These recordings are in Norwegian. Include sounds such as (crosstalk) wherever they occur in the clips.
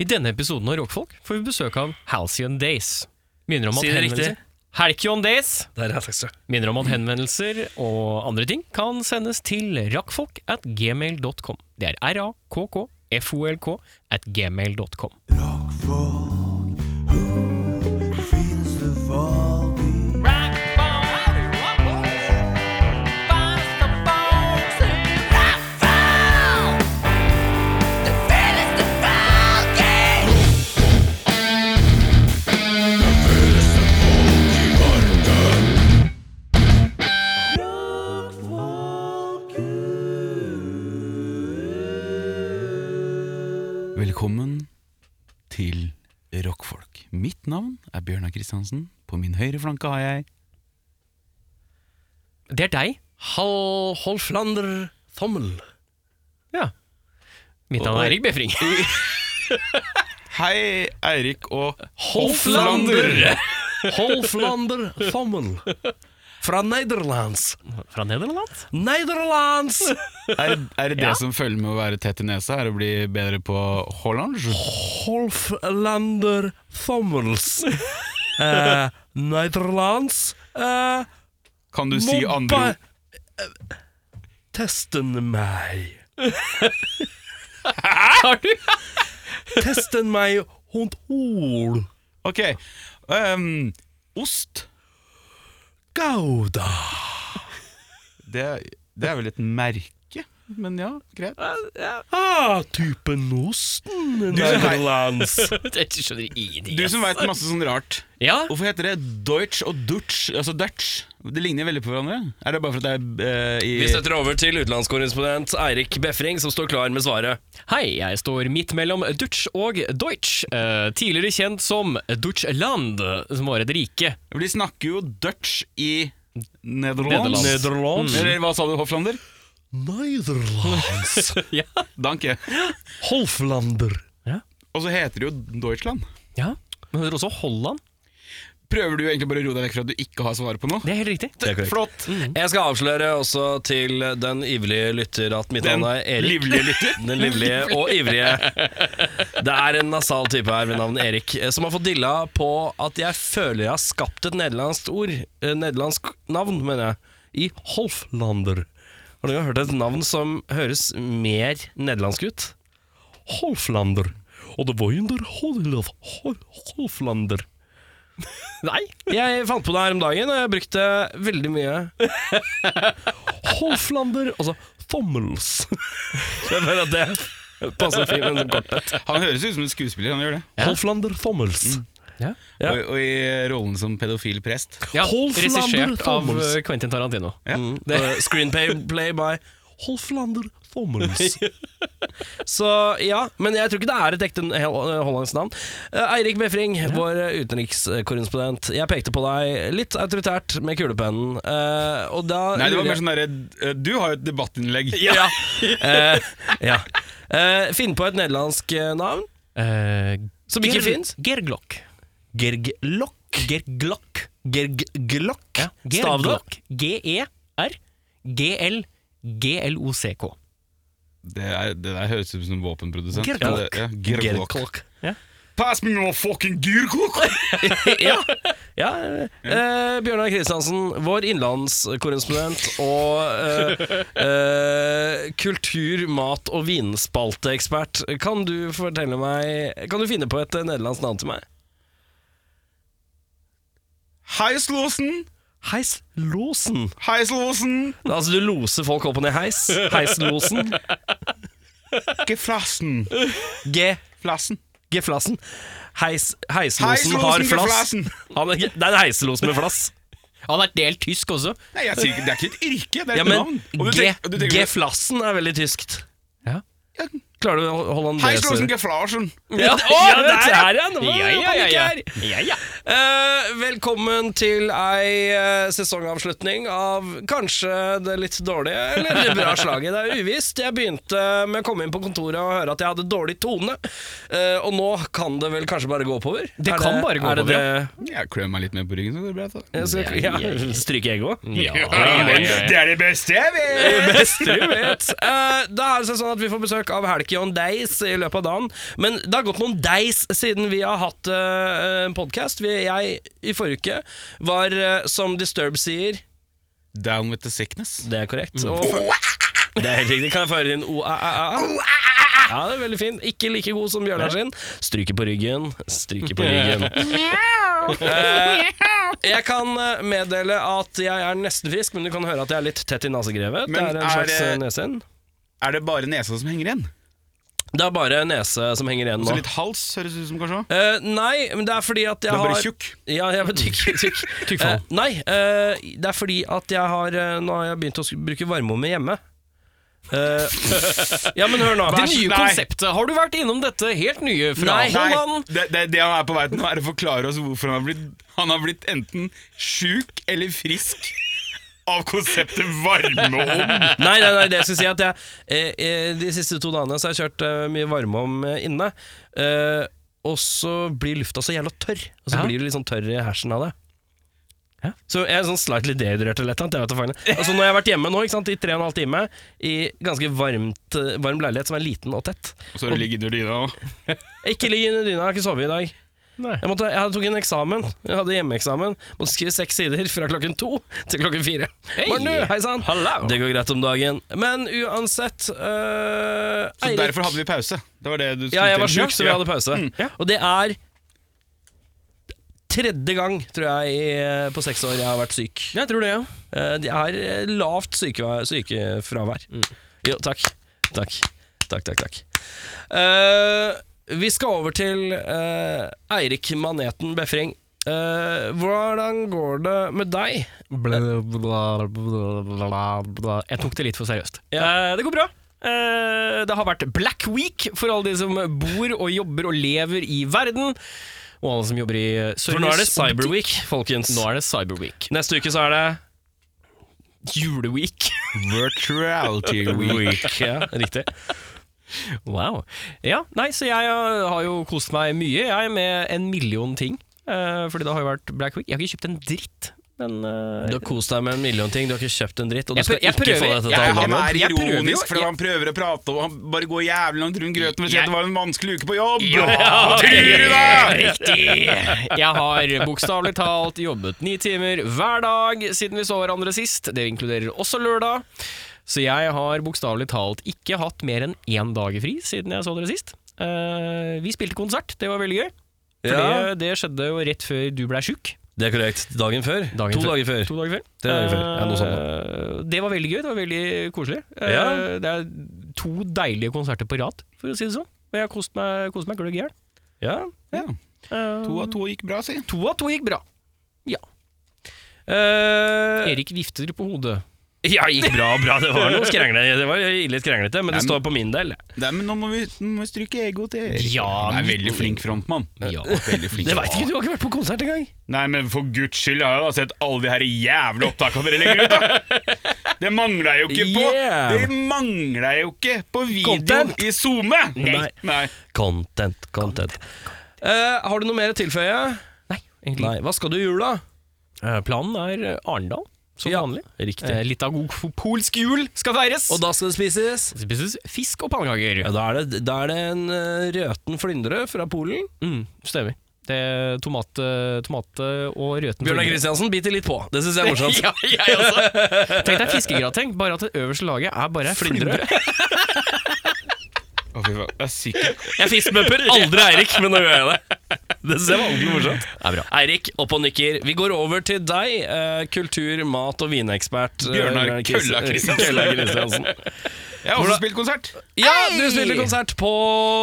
I denne episoden av Rockfolk får vi besøk av Halcyon Days. Minner om at Si det henvendelser- riktig. Halcyon Days Der er det sagt. minner om at henvendelser og andre ting kan sendes til rakkfolk at gmail.com. Det er r-a-k-k-f-o-l-k at gmail.com. Velkommen til Rockfolk. Mitt navn er Bjørnar Kristiansen. På min høyre flanke har jeg Det er deg. Hal Holflander Thommel. Ja. Mitt navn er Erik Befring. Hei, Eirik og Hoflander! (laughs) Holflander Thommel. Fra Nederlands. Fra Nederland? Nederlands! Er, er det det som følger med å være tett i nesa? Er å bli bedre på hollandsk? Holflander Thommels. Eh, Nederlands eh, Kan du si må andre ba- ord? eh, Testen meg. Har du? (laughs) Testen meg hund ord. Ok. ehm, ost. Gouda. Det, det er vel et merke? Men ja, greit. Ah, typen osten som- Nederlands. (laughs) Jeg skjønner ingenting. Du som veit masse sånn rart. Ja, Hvorfor heter det Deutsch og Dutch? Altså Dutch. Det ligner veldig på hverandre. Er det bare for at det er eh, i Vi setter over til utenlandskorrespondent Eirik Befring, som står klar med svaret. Hei, jeg står midt mellom Dutch og Deutsch, eh, tidligere kjent som Dutchland, som var et (laughs) rike. For de snakker jo Dutch i Nederland. Nederland. Nederlands. Eller hva sa du, Hoflander? (laughs) Nederlands. Ja. Danke. Holflander. Og så heter det jo Deutschland. ja. Men det er også Holland. Prøver du egentlig bare å roe deg vekk fra at du ikke har svaret på noe? Det er helt riktig. er korrekt. Flott! Jeg skal avsløre også til den ivrige lytter at mitt Den navn er Erik. livlige lytter. (laughs) Den (laughs) livlige og ivrige. Det er en nasal type her ved navn Erik, eh, som har fått dilla på at jeg føler jeg har skapt et nederlandsk ord. eh, Nederlandsk navn, mener jeg. I Holflander. Har du hørt et navn som høres mer nederlandsk ut? Holflander. Og det var under Holf, Holflander. Nei. Jeg fant på det her om dagen, og jeg brukte veldig mye Hoflander, altså Thommels. Så (laughs) jeg føler at det passer fint med en sånn korthet. Han høres ut som en skuespiller, han gjør det. Ja. Hoflander Thommels. Ja. Ja. Og, og i rollen som pedofil prest. Ja, Holflander Regissert av Thomas. eh, Quentin Tarantino. Ja. Mm, det er (laughs) screenplay play by Hoflander Thommels. Så ja, men jeg tror ikke det er et ekte hel- hollandsk navn. Eh, Eirik Befring, vår eh, utenrikskorrespondent. Jeg pekte på deg litt autoritært med kulepennen, eh, og da Nei, det var lurer jeg- mer sånn derre Du har jo et debattinnlegg. (laughs) Ja. Eh, ja. Eh, finn på et nederlandsk eh, navn Eh, som ikke Gerg- fins. Gerglokk. Gerglokk. Gerglokk. Gerglokk. Ja. E Stav det. Gerglokk. G-e-r-g-l-g-l-o-c-k. Det, er, det der høres ut som en våpenprodusent. Gerklokk. Ja, Gerklokk. Gerglokk. Pass me no fucking girklokk! ja. ja. Eh, Bjørnar Kristiansen, vår innenlandskorrespondent og eh, eh, kultur-, mat- og vinspalteekspert, kan du fortelle meg Kan du finne på et eh, nederlandsk navn til meg? Heislåsen! Heis Losen. Heislåsen! Altså, du loser folk opp og ned i heis. Heislosen. Geflassen. G. Flassen. G-flassen. Heis, heislosen Heislosen har med flass. flassen. Han er, det er en heiselos med flass. Han er delt tysk også. Nei, jeg sier ikke, Det er ikke et yrke, det er et Ja, men navn. Og du tenker- du tenker- G-flassen er veldig tyskt. Ja. Klarer du å holde han Heislåsen Geflasen. Ja, det- å, ja, der der, er han! Å, Ja, ja, ja, ja. panikk her. Eh, velkommen til ei eh, sesongavslutning av kanskje det litt dårlige, eller det bra slaget. Det er uvisst. Jeg begynte med å komme inn på kontoret og høre at jeg hadde dårlig tone. Eh, og nå kan det vel kanskje bare gå oppover? Det kan bare gå er det oppover, ja. det- Jeg klør meg litt mer på ryggen, så går det bra. altså. Så. Jeg skal, Ja, ja, (laughs) ja, stryke egg òg? Ja, ja, ja, ja. Det er det beste jeg vet! Det beste du vet. Eh, da er det sånn at vi får besøk av Helk drikke en deis i løpet av dagen. Men det har gått noen deis siden vi har hatt eh, en podkast. Jeg i forrige uke var, eh, som Disturb sier Down with the sickness. Det er korrekt. Mm. Og for... (laughs) Det er helt riktig. Kan jeg få høre din o-a-a-a? Ja, det er veldig fin. Ikke like god som Bjørnar sin. Stryker på ryggen, stryker på (laughs) ryggen. Eh, jeg kan eh, meddele at jeg er nesten frisk, men du kan høre at jeg er litt tett i nesegrevet. Det Men er en er slags det- eh, nesen. Er det bare nesa som henger igjen? Det er bare nese som henger igjen Så nå. litt hals høres ut som, kanskje? også? Eh, nei, men det er fordi at jeg Du er bare har tjukk. Ja, jeg er tykk. (laughs) tykk. fall. Eh, nei, eh, det er fordi at jeg har eh, Nå har jeg begynt å sk- bruke varmeovner hjemme. (laughs) Eh, ja, men hør nå. Det nye Nei. konseptet. Har du vært innom dette helt nye fra Nei. Holland? det, det, det han er på vei til nå, er å forklare oss hvorfor han har blitt, han har blitt enten sjuk eller frisk av konseptet varmeovn. (laughs) Nei, nei, nei, det jeg skulle si er at jeg eh, eh, De siste to dagene så har jeg kjørt eh, mye varme om eh, inne eh, Og så blir lufta så jævla tørr Og Ja. så blir du litt sånn tørr i hersen av det Ja. Så jeg er sånn slightly dehydrert eller et eller annet jeg vet da faen. Altså når jeg har vært hjemme nå, ikke sant, i tre og en halv time I ganske varmt, eh, varm leilighet som er liten og tett Og så har du ligget under dyna òg. Jeg Ikke ligg under dyna, jeg har ikke sovet i dag Nei. jeg, måtte, jeg tok en eksamen, jeg hadde hjemmeeksamen Måtte skrive seks sider fra klokken to til klokken fire Hei. Morten, du, hei sann Det går greit om dagen Men uansett øh, Så Eirik- derfor hadde vi pause. Det var det du Ja, jeg skulle var til. syk, så vi hadde pause Ja. Og det er Tredje gang, tror jeg, i- øh, på seks år jeg har vært syk Jeg tror det, ja. Eh, Jeg har lavt syke, sykefravær Mm. Jo, takk Takk, takk, takk, takk Eh, Vi skal over til eh, Eirik Maneten Befring Eh, Hvordan går det med deg? Bla, bla, bla, bla, bla. Jeg tok det litt for seriøst. Eh, det går bra. Eh, det har vært Black Week for alle de som bor og jobber og lever i verden. Og alle som jobber i eh, service. For nå er og det butikk. Cyber Week, folkens Nå er det Cyber Week. Neste uke så er det Juleweek. Virtuality week. (laughs) Ja, riktig. Wow. Ja, nei, så jeg eh, har jo kost meg mye, jeg, med en million ting. Eh, fordi det har jo vært Black Week. Jeg har ikke kjøpt en dritt, men eh, Du har kost deg med en million ting, du har ikke kjøpt en dritt, og du Jeg skal prø- jeg ikke prøver- få dette til jeg- å Ja, handle han om er Jeg prøver jo- ironisk fordi jeg- han prøver å prate, og han bare går jævlig langt rundt grøten og sier Jeg- at det var en vanskelig uke på jobb. Ja, Hva tror du (laughs) da? Riktig! Jeg har bokstavelig talt jobbet ni timer hver dag siden vi så hverandre sist. Det inkluderer også lørdag. Så jeg har bokstavelig talt ikke hatt mer enn én dag fri siden jeg så dere sist. Eh, vi spilte konsert, det var veldig gøy. For Ja. det, det skjedde jo rett før du ble sjuk. Det er korrekt. Dagen før? Dagen to før. dager før. To dager før. Tre dager før. Ja, noe sånt Eh, det var veldig gøy, det var veldig koselig. Eh, Ja. Det er to deilige konserter på rad, for å si det sånn. Og jeg har kost meg, kost meg gløgg i hjel. Ja. Ja, Eh, To av to gikk bra, si. To av to gikk bra. Eh, Erik vifter på hodet. ja, gikk bra, bra. Det var noe skrenglete. Det var litt skrenglete, men det står på min del. Nei, men nå må vi, nå må vi stryke egoet til Erik. Ja, han er veldig flink frontmann. Ja. Veldig (laughs) flink. Det veit ikke, du har ikke vært på konsert engang. Nei, men for guds skyld har jeg da sett alle de her jævla opptakene dere legger ut, da. Det mangla jo ikke på Yeah. Det mangla jo ikke på videoen Content. i SoMe! Nei. Nei. Content, content. Eh, har du noe mer å tilføye? Nei, egentlig Nei. Hva skal du i jula? Eh, Planen er eh, Arendal, som Ja, vanlig. Riktig. Eh, litt av god f- polsk jul skal feires. Og da skal det spises? Det spises fisk og pannekaker. Eh. Ja, da er det, da er det en eh, røten flyndre fra Polen. Mm, stemmer. Det er tomat, eh, tomat eh, og røten Bjørnar Kristiansen biter litt på. Det syns jeg er (laughs) morsomt. Ja, jeg også. Tenk (laughs) deg fiskegrateng, bare at det øverste laget er bare flyndre. Å, fy faen. Det er sikkert Jeg fiskbumper aldri Eirik, men nå gjør jeg det. Det synes jeg var ordentlig morsomt. Eirik, opp og nikker. Vi går over til deg, eh, kultur-, mat- og vinekspert eh, Bjørnar Krist- Kølla Kristiansen. Kølla Kristiansen. Jeg har også spilt konsert. Ja, du spilte konsert på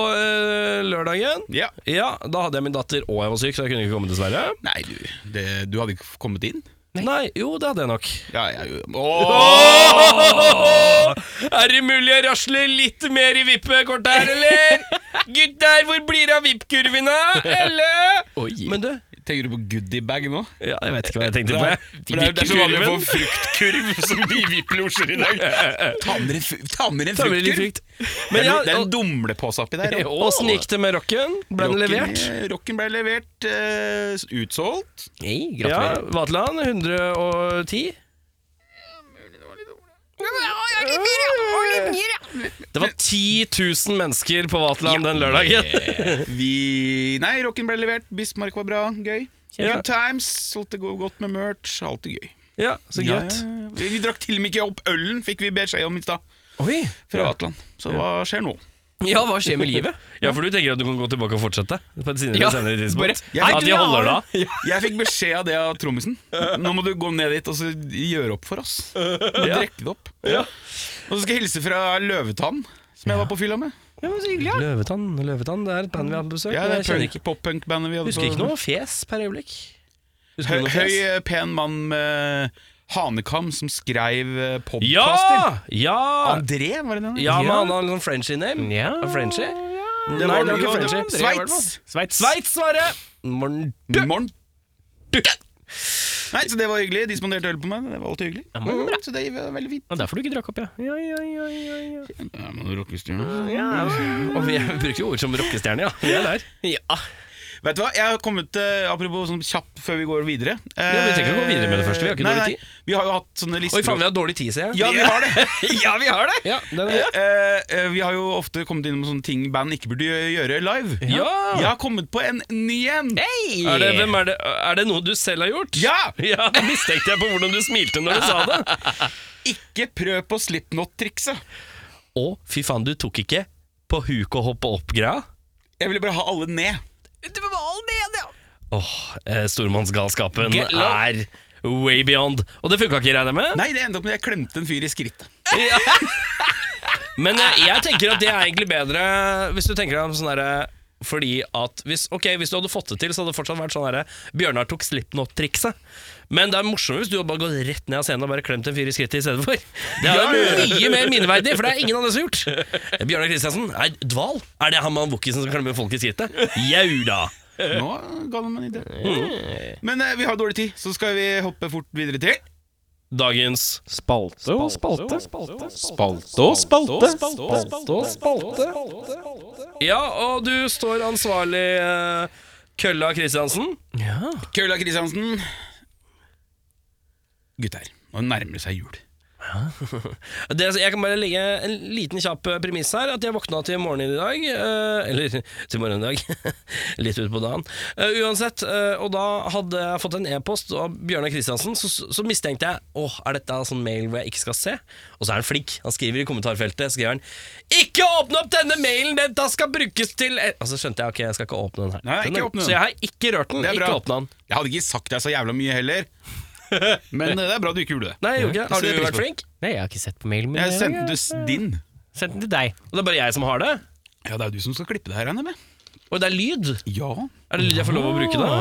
eh, lørdagen. Ja. Ja, da hadde jeg min datter og jeg var syk, så jeg kunne ikke komme, dessverre. Nei, du det, Du hadde ikke kommet inn? Nei, jo, det hadde jeg nok. Ja, jeg Åh! Er det mulig å rasle litt mer i vippekortet her, eller? (laughs) Gutter, hvor blir det av vippkurvene, eller? Men du Tenker du på goodiebag nå? ja, Jeg vet ikke hva jeg tenkte Det på. er, jeg. for det er, det er så vanlig å få fruktkurv (laughs) som de vipp-losjer i dag. Ta med dere fu- ta med dere en Ta med litt fruktkurv. frukt. Men ja, det er en og- dumlepose oppi der. og- Åssen gikk det med rocken? Ble den Rocken- levert? Rocken ble levert, eh, utsolgt. Nei, Ja, gratulerer. Vaterland 110. Det var 10 000 mennesker på Vaterland den lørdagen. Vi Nei, rocken ble levert. Bismarck var bra. Gøy. Ja. Good times. Solgte go- godt med merch. Alltid gøy. Ja, så greit. Ja, ja. Vi, vi drakk til og med ikke opp ølen, fikk vi beskjed om i stad. Oi. Fra Vatland. Så hva skjer nå? Ja, hva skjer med livet? Ja, for du tenker at du kan gå tilbake og fortsette? På et senere, Ja, senere bare- tidspunkt? Ja, at de holder da? Jeg fikk beskjed av det av trommisen. Nå må du gå ned dit og så gjøre opp for oss. Og Drikke det opp. Og så skal jeg hilse fra Løvetann, som jeg var på fylla med. Løvetann, Løvetann, det er et band vi har besøkt. Ja, men det jeg kjenner ikke, Pop-punk-bandet vi hadde husker på- ikke noe fjes per øyeblikk. Husker Høy, du noe høy, fjes? eh, pen mann med hanekam som skreiv eh, podcaster. Ja! Ja! André, var det den? Ja, men han har en sånn Frenchy name. Ja. Og Frenchy? Det Nei, var, det var ikke jo, det Frenchy. var Sveits! Sveits. Sveits, var det! Morten. Morn. Nei, så det var hyggelig. De spanderte øl på meg. Det var alltid hyggelig. Mm, så det var veldig fint. Det er derfor du ikke drakk opp, ja. Ja, ja, ja, ja, ja. Ja, men rockestjerne. Og vi bruker jo ord som rockestjerne, ja. Vi er der. ja. Vet du hva, jeg har kommet til, apropos sånn kjapp før vi går videre Ja, vi trenger ikke gå videre med det første, vi har ikke Nei, dårlig nei, tid. Vi har jo hatt sånne lister. Oi, faen, vi har dårlig tid, ser jeg. Ja, vi har det! (laughs) ja, vi har det! Ja, den er Eh, eh, vi har jo ofte kommet innom sånne ting band ikke burde gjøre live. Ja. Jeg har kommet på en ny en! Er det, hvem er, det, er det noe du selv har gjort? Ja! (laughs) Ja, Det mistenkte jeg på hvordan du smilte når du sa det. Ikke prøv på Slipknot-trikset. Å, fy faen, du tok ikke på huk og hoppe opp-greia? Jeg ville bare ha alle ned. Åh, eh, stormannsgalskapen Get low. er way beyond. Og det funka ikke, regner jeg med? Nei, det endte opp med at jeg klemte en fyr i skrittet. (laughs) Men eh, jeg tenker at det er egentlig bedre hvis du tenker deg om sånn derre fordi at hvis, ok, hvis du hadde fått det til, så hadde det fortsatt vært sånn herre Bjørnar tok Slipknot-trikset. Men det er morsommere hvis du bare går rett ned av scenen og bare klemt en fyr i skrittet i stedet for. Det er mye mer minneverdig, for det er ingen andre som har gjort. Bjørnar Kristiansen, nei, dval. Er det han med han wookisen som klemmer folk i skrittet? Jau da. Eh. Nå ga de meg en idé. Men eh, vi har dårlig tid, så skal vi hoppe fort videre til Dagens Spalte og spalte. Spalte og spalte. Spalte og spalte. Ja, og du står ansvarlig, eh, Kølla Kristiansen. Kølla Kristiansen. Gutter, nå nærmer det seg jul. Det, jeg kan bare legge en liten kjapp eh, premiss her. At jeg våkna til morgenen i dag. eh, eller til morgenen i dag. (laughs) Litt utpå dagen. Eh, uansett, eh, og da hadde jeg fått en e-post av Bjørnar Kristiansen. Så, så mistenkte jeg åh, er dette en sånn mail hvor jeg ikke skal se. Og så er han flink. Han skriver i kommentarfeltet skriver han, Ikke åpne opp denne mailen! Dette skal brukes til Og så skjønte jeg ok, jeg skal ikke åpne den her. Nei, ikke Den er- åpne den. Så jeg har ikke rørt den. Det er Ikke bra. åpne den. Jeg hadde ikke sagt deg så jævla mye heller. Men eh, det er bra du ikke gjorde det. Nei, jeg gjorde ikke det. det Har du setter jeg vært pris flink? Nei, jeg har ikke sett på mailen min. Jeg sendte du s- din. Sendt den til deg. Og det er bare jeg som har det? Ja, det er jo du som skal klippe det her, regner jeg med. Og det er lyd? Ja. Er det lyd jeg får lov å bruke da?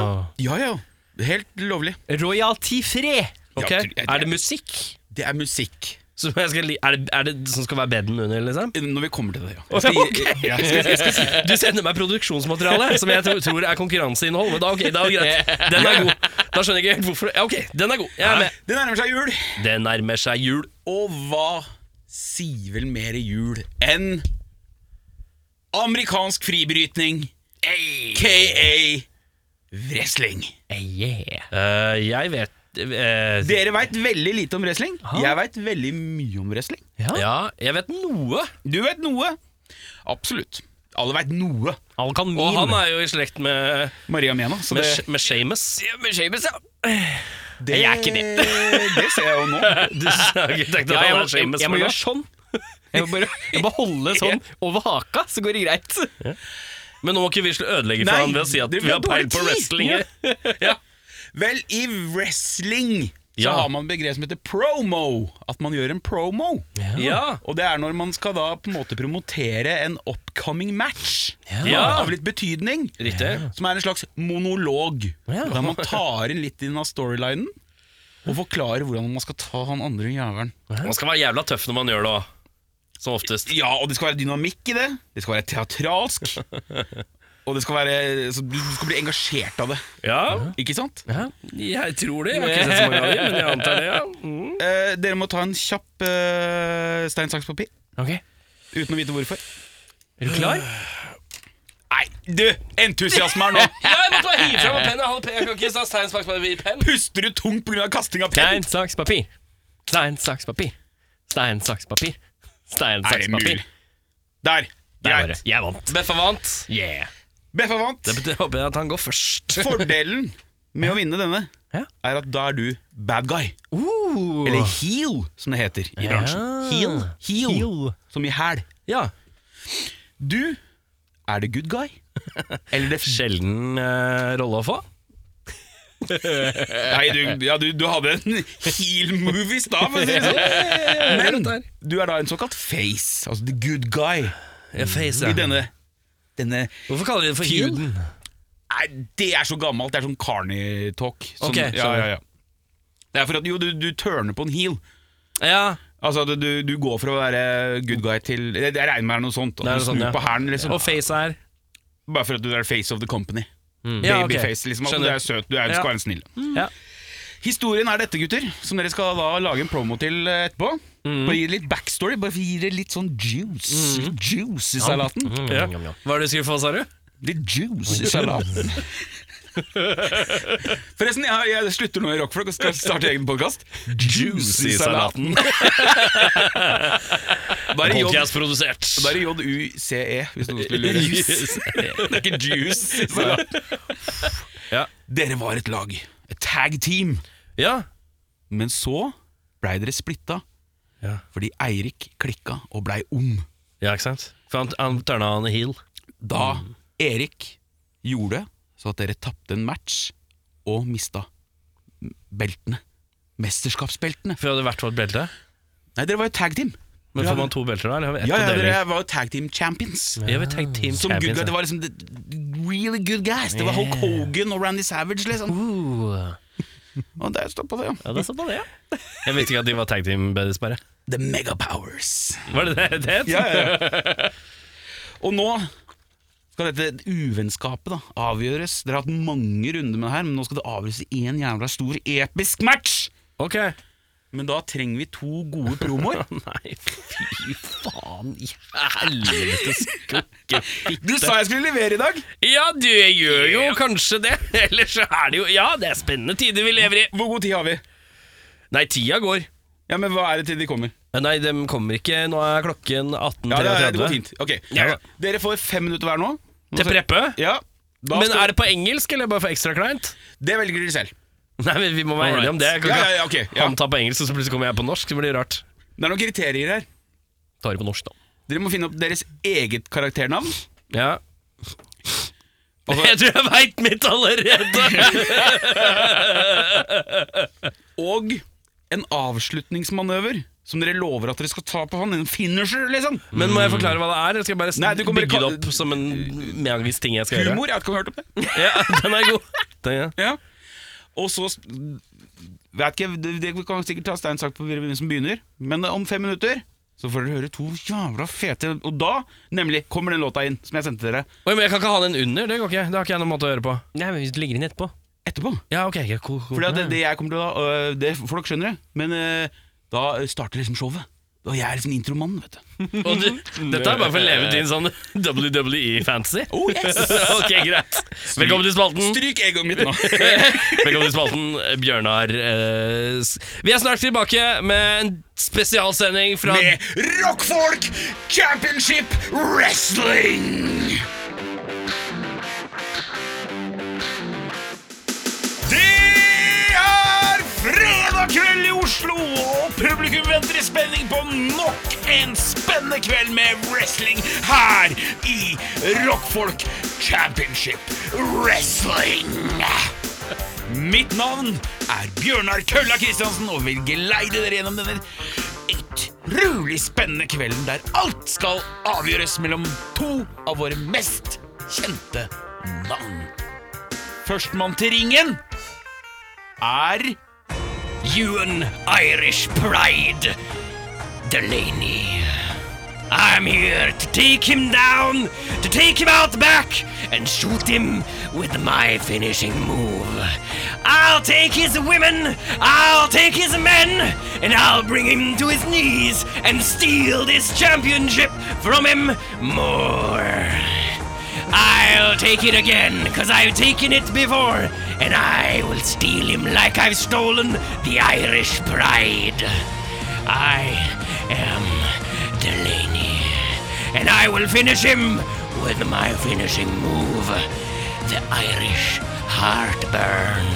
Ja, ja. Helt lovlig. Royalty free! Ok, Ja, jeg- Er det musikk Det er musikk. som jeg skal, li- er, det, er det som skal være bedden under, liksom? Når vi kommer til det, ja. Ja, skal- skal- skal- skal- Du sender meg produksjonsmateriale som jeg tror, tror er konkurranseinnhold. Men da, ok, da er det (laughs) greit. Den er god. Da skjønner jeg ikke helt hvorfor Ja, ok, den er god. Jeg er med. Det nærmer seg jul. Det nærmer seg jul. Og hva sier vel mer jul enn amerikansk fribrytning, aka wrestling? Eh, jeg vet eh, Dere veit veldig lite om wrestling. Jeg veit veldig mye om wrestling. Ja, jeg vet noe. Du veit noe. Absolutt. Alle veit noe. Alkamin. Og han er jo i slekt med, Maria Mena. Så med, det, Sh- med Seamus. det er ikke det. (laughs) det ser jeg jo nå. (laughs) Du sa ikke tenkte Ja, at jeg, han må, er jeg, Seamus. jeg må men da- gjøre sånn. (laughs) Jeg må bare, jeg må holde sånn over haka, så går det greit. Men nå må ikke vi sl- ødelegge for Nei, han ved å si at det vi blir har peil dårlig på tid. wrestling. Ja. Vel, i wrestling så Ja. har man begrep som heter promo. At man gjør en promo. Ja. Og det er når man skal da på en måte promotere en upcoming match Ja. av litt betydning. Riktig. Som er en slags monolog. Ja. Der man tar inn litt inn av storylinen og forklarer hvordan man skal ta han andre jævelen. Man skal være jævla tøff når man gjør det òg. Som oftest. Ja, og det skal være dynamikk i det. Det skal være (laughs) teatralsk. Og det skal være så Du du skal bli engasjert av det. Ja, Ikke sant? jeg tror det. Jeg har ikke sett så mange ganger, men jeg antar det. ja mm. Eh, dere må ta en kjapp eh, stein, saks, papir. Ok, Uten å vite hvorfor. Er du klar? Nei, du! Entusiasme (laughs) her nå! (laughs) Ja, jeg måtte bare hive fra meg pennen. Jeg holder pe- Jeg kan ikke ta stein, saks, papir, penn. Puster du tungt pga. kasting av penn? Stein, saks, papir. Stein, saks, papir. Stein, saks, papir. Stein, Er saks, det papir. mulig? Der! Der var Greit. det. Jeg vant. Beffa vant. Yeah. Beffa vant. Det betyr håper jeg at han går først. (laughs) Fordelen med å vinne denne Ja. er at da er du bad guy. Uh, Eller heel, som det heter i bransjen. Heel. Heel, Heel. som i hæl. Ja. Du er the good guy. Eller det Sjelden eh, rolle å få. (laughs) Nei, du, ja, du, du hadde en heel move i stad, for å si det (laughs) sånn. Men du er da en såkalt face, altså the good guy, Jeg face, i ja. denne, denne Hvorfor kaller de det for huden? Nei, det er så gammelt. Det er sånn carny talk. Sånn, Ok, ja, ja, ja. Det er for at jo, du, du turner på en heel. Ja, Altså, du, du, du går for å være good guy til Jeg jeg regner med det er noe sånt. Det er At du noe sånt, snur ja. på hælen, liksom. Og face er Bare for at du er face of the company. ja, ok. Babyface, liksom. At du Skjønner. er søt, du er, Ja. Mm. skal være en snill. Ja. Historien er dette, gutter, som dere skal da lage en promo til eh, etterpå. Mm. Bare gi det litt backstory, bare gi det litt sånn juice. Litt juice i salaten. Ja. Mm. Hva er det du skulle få, sa du? Litt juice i (laughs) salaten. Forresten, jeg, jeg slutter nå i Rockflok og skal starte egen podkast. Juice (laughs) Bare J- produsert. bare J-U-C-E, E, hvis noen skulle (laughs) lure. Det er ikke juice. (laughs) i salaten. Dere var et lag. Et tag team. Ja. Men så blei dere splitta Ja. fordi Eirik klikka og blei ond. ja, ikke sant? For han, han turna han i heel. Da Mm. Erik gjorde så at dere tapte en match og mista beltene. Mesterskapsbeltene. For jeg hadde hvert vårt belte. Nei, dere var jo tag team. Men Ja, får man to belter da? Eller har vi ett Ja, ja, å dele? dere var jo tag team champions. Ja, vi tenkt Team Som good Champions. guy, Det var liksom the really good guys. Det var Hulk Hogan og Randy Savage, liksom. Uh, Og der står på det, ja. ja, det er sånn på det, ja. Jeg visste ikke at de var tag team buddies, bare. The Megapowers. Var det det det het? Ja, ja, ja. (laughs) Og nå skal dette uvennskapet da avgjøres. Dere har hatt mange runder med det her, men nå skal det avgjøres i én jævla stor episk match! Ok. Men da trenger vi to gode promoer. (laughs) Nei, fy faen i (laughs) helvete skukke. Du sa jeg skulle levere i dag! Ja, du gjør jo kanskje det. (laughs) Ellers så er det jo Ja, det er spennende tider vi lever i. Hvor god tid har vi? Nei, tida går. Eh, Ja, men Hva er det til de kommer? Nei, de kommer ikke. Nå er klokken Ja, 18.33. det, det går fint. Ok, Ja. Dere får fem minutter hver nå. Til preppe? Ja, da Men skal- er det på engelsk, eller bare for ekstra kleint? Det velger dere selv. Nei, men Vi må være enige om det. Jeg kan Ja, ikke ja, ja, ok, ha ja. Han tar på engelsk, og så plutselig kommer jeg på norsk. Det blir rart. Det er noen kriterier her. Tar det på norsk, da. Dere må finne opp deres eget karakternavn. (laughs) Ja (laughs) Altså, Jeg tror jeg veit mitt allerede! og en avslutningsmanøver som dere lover at dere skal ta på han. En finisher, liksom. Men må jeg forklare hva det er? Eller skal jeg bare Nei, du kan bare bygge det kall- opp som en magisk ting jeg skal gjøre? Humor. Jeg vet ikke om du har hørt om det? Ja, den er (laughs) god. Den, ja. Ja. Og så Vet ikke, det- det- Vi kan sikkert ta stein saks på hvem som begynner, men om fem minutter så får dere høre to jævla fete Og da nemlig kommer den låta inn som jeg sendte dere Oi, men jeg kan ikke ha den under. Det går ikke. Det har ikke jeg noen måte å gjøre på. Nei, men Hvis du legger inn etterpå etterpå. Ja, ok, ok, cool, cool. For det, det jeg kommer til å da, øh, Det folk skjønner det, men øh, da starter liksom showet. Da jeg er liksom intromannen, vet du. Og du, Mm. dette er bare for å leve ut din sånn (laughs) WWE-fantasy. Oh, yes! Ok, greit. Velkommen til spalten. (laughs) Stryk egoet mitt nå. (laughs) (laughs) Velkommen til spalten, Bjørnar. eh, s- Vi er snart tilbake med en spesialsending fra Med Rockfolk Championship Wrestling! Det er fredag kveld i Oslo, og publikum venter i spenning på nok en spennende kveld med wrestling her i Rockfolk Championship Wrestling. Mitt navn er Bjørnar Kølla Kristiansen og vil geleide dere gjennom denne utrolig spennende kvelden der alt skal avgjøres mellom to av våre mest kjente navn. Førstemann til ringen er Ewan Irish Pride Delaney. I'm here to take him down, to take him out the back, and shoot him with my finishing move. I'll take his women, I'll take his men, and I'll bring him to his knees and steal this championship from him more. I'll take it again, because I've taken it before, and I will steal him like I've stolen the Irish pride. I am Delaney, and I will finish him with my finishing move, the Irish heartburn.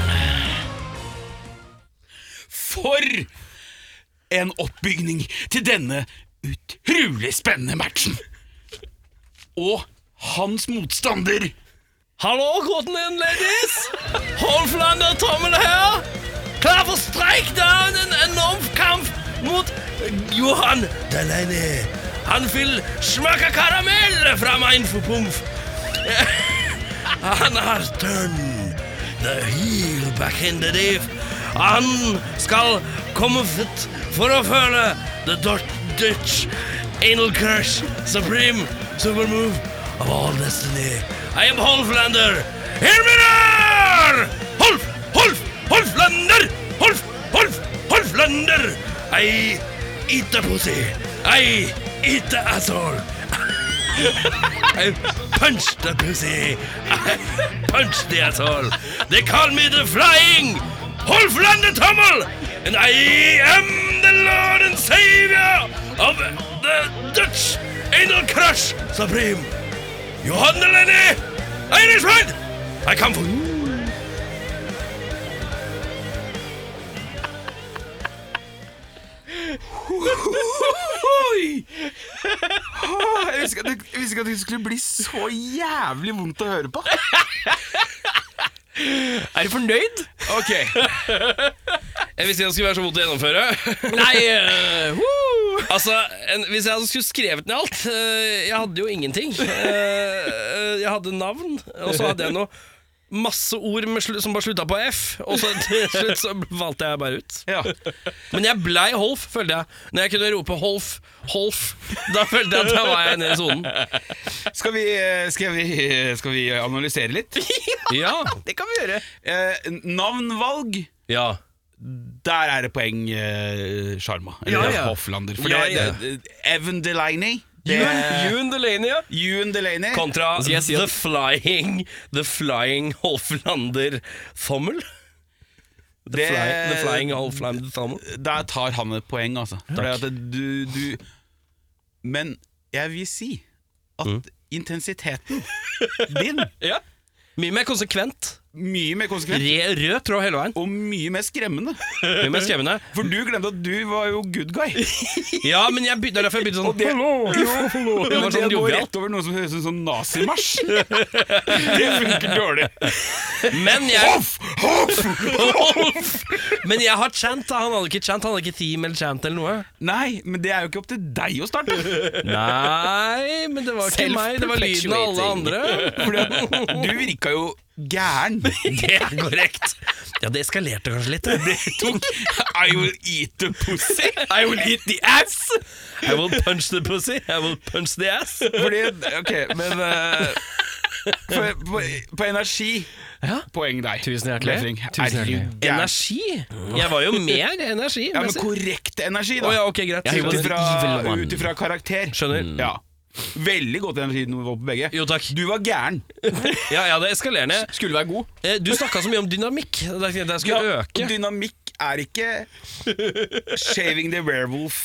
For en oppbygning til denne utrolig spennende matchen! Og hans motstander Hallo, Cotton In Ladies! Holflander Tommel her. Klar for streik! Det er en enorm kamp mot Johan Delaney. Han vil smake karamell fra min pump. Han har turned the heel back in the deep. Han skal komme fit for å føle the Dutch, Dutch anal crush supreme supermove of all destiny. I am Holflander. Hear me now! Holf, Holf, Holflander! Holf, Holf, Holflander! I eat the pussy. I eat the asshole. I Eh, punch the pussy. (laughs) I punch the asshole. They call me the flying Holflander Tommel, and I am the Lord and Savior of the Dutch Anal Crush Supreme. Johan de Lenny, Irishman, I come for you. Oi! Åh, Jeg visste ikke at det- jeg visste ikke at det skulle bli så jævlig vondt å høre på. Er du fornøyd? Ok, Jeg visste ikke det skulle være så vondt å gjennomføre. (laughs) Nei, eh, woo! Altså, en, Hvis jeg hadde skulle skrevet ned alt eh, Jeg hadde jo ingenting. Eh, eh, jeg hadde navn, og så hadde jeg noe masse ord med slu, som bare slutta på F. Og så til slutt så valgte jeg bare ut. ja. Men jeg blei Holf, følte jeg. Når jeg kunne rope Holf, Holf, da følte jeg at da var jeg nede i sonen. Skal vi, eh, skal vi, skal vi analysere litt? Ja. Det kan vi gjøre. Eh, navnvalg, ja. der er det poeng, eh, Sjarma. Ja, Eller ja. Hofflander. For Ja, det, ja. Det, Evan Delaney. Det, June Delaney, ja. Ewan Delaney. Kontra Skal jeg si The at- Flying The Flying Holflander Fommel. The, Det- fly, the Flying Holflander Fommel. Der tar han et poeng, altså. For det at du, du Men jeg vil si at intensiteten din Ja. Mye mer konsekvent. Mye mer konsekvent Re, rød tråd hele veien. og mye mer skremmende. Mye mer skremmende. For du glemte at du var jo good guy. (laughs) Ja, men jeg begynte, det er derfor jeg begynte sånn Hallo! Det var sånn går jovial. rett over noe som høres ut som (laughs) nazimarsj. Det funker dårlig. Men jeg, Hoff! Hoff! men jeg har chant, da. Han hadde ikke chant, han hadde ikke team eller chant eller noe. Nei, men det er jo ikke opp til deg å starte. Nei, men det var ikke meg. Det var lyden av alle (laughs) andre. Fordi at du virka jo gæren. Det er korrekt. Ja, det eskalerte kanskje litt. Det tok I will eat the pussy. I will eat the ass. I will punch the pussy. I will punch the ass. Fordi, ok, men eh, på, på, på energi Ja. Poeng deg. Tusen hjertelig. Lefring. Tusen hjertelig. Er du gæren? Energi? Jeg var jo mer energi. Ja, men korrekt energi, Å da. ja, ok, greit. Jeg Ut var- ifra Evil one. ut ifra karakter. Skjønner. Ja. Veldig godt energinivå på begge. Jo, takk. Du var gæren. Ja, ja, det eskalerer ned. Skulle være god. Eh, Du snakka så mye om dynamikk. Da tenkte Jeg jeg skulle øke. Dynamikk er ikke shaving the werewolf.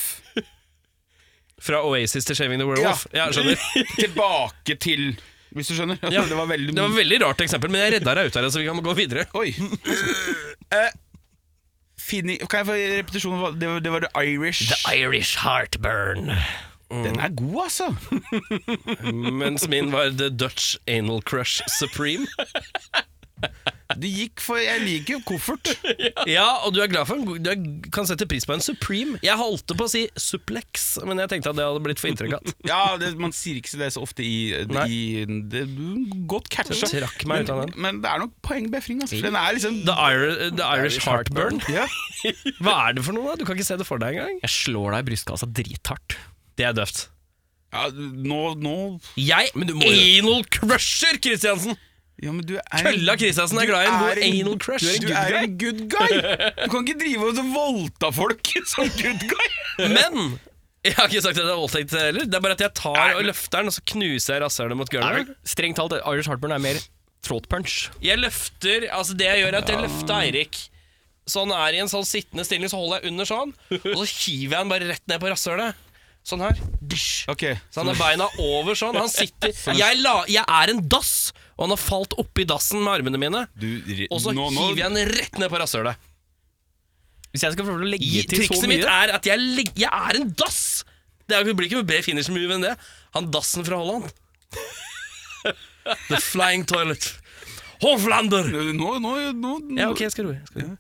Fra Oasis til Shaving the Werewolf. Ja, skjønner Tilbake til Hvis du skjønner. Ja. Det var veldig Det var et veldig rart eksempel, men jeg redda deg ut av det, så vi kan gå videre. Oi. Eh, fini- kan jeg få repetisjon? av hva- Det var, det var The Irish. Irish heartburn. Den er god, altså. Mens min var The Dutch Anal Crush Supreme. Det gikk for Jeg liker jo koffert. Ja, og du er glad for en god Du er- kan sette pris på en Supreme. Jeg holdt på å si Suplex, men jeg tenkte at det hadde blitt for intrikat. Ja, det, Man sier ikke det så ofte i, Nei. i det, Godt catcha. Den trakk meg ut av men, men det er nok poengbefring. Altså. Den er liksom The, Ir The Irish Heartburn. ja. Hva er det for noe, da? Du kan ikke se det for deg engang. Jeg slår deg i brystkassa drithardt. Det er døvt. Ja, nå, nå Jeg Anal Crusher, Kristiansen! ja, men du er en- Kølla Kristiansen er glad i en god anal crush. Du er, en good guy! Du kan ikke drive og voldta folk (laughs) som good guy! Men jeg har ikke sagt at det er voldtekt heller. Det er bare at jeg tar og løfter den, og så knuser jeg rasshølet mot Er gulvet. vel Strengt talt, Irish heartburn er mer throat punch. Jeg løfter Altså, det jeg gjør, er at jeg løfter Eirik sånn er i en sånn sittende stilling, så holder jeg under sånn, og så hiver jeg den bare rett ned på rasshølet. Sånn her. Dysj. Ok. Så han har beina over sånn. Han sitter jeg, la, jeg er en dass, og han har falt oppi dassen med armene mine. Du, re- Og så nå, nå, hiver jeg den rett ned på rasshølet. Hvis jeg skal prøve å legge til så Trikset mitt mye er at jeg, leg- jeg er en dass! Det er jo blir ikke noe bedre finish move enn det. Han dassen fra Holland. The flying toilet. Hovlander! nå, nå, nå, nå. Ja, ok, jeg skal roe. jeg skal roe.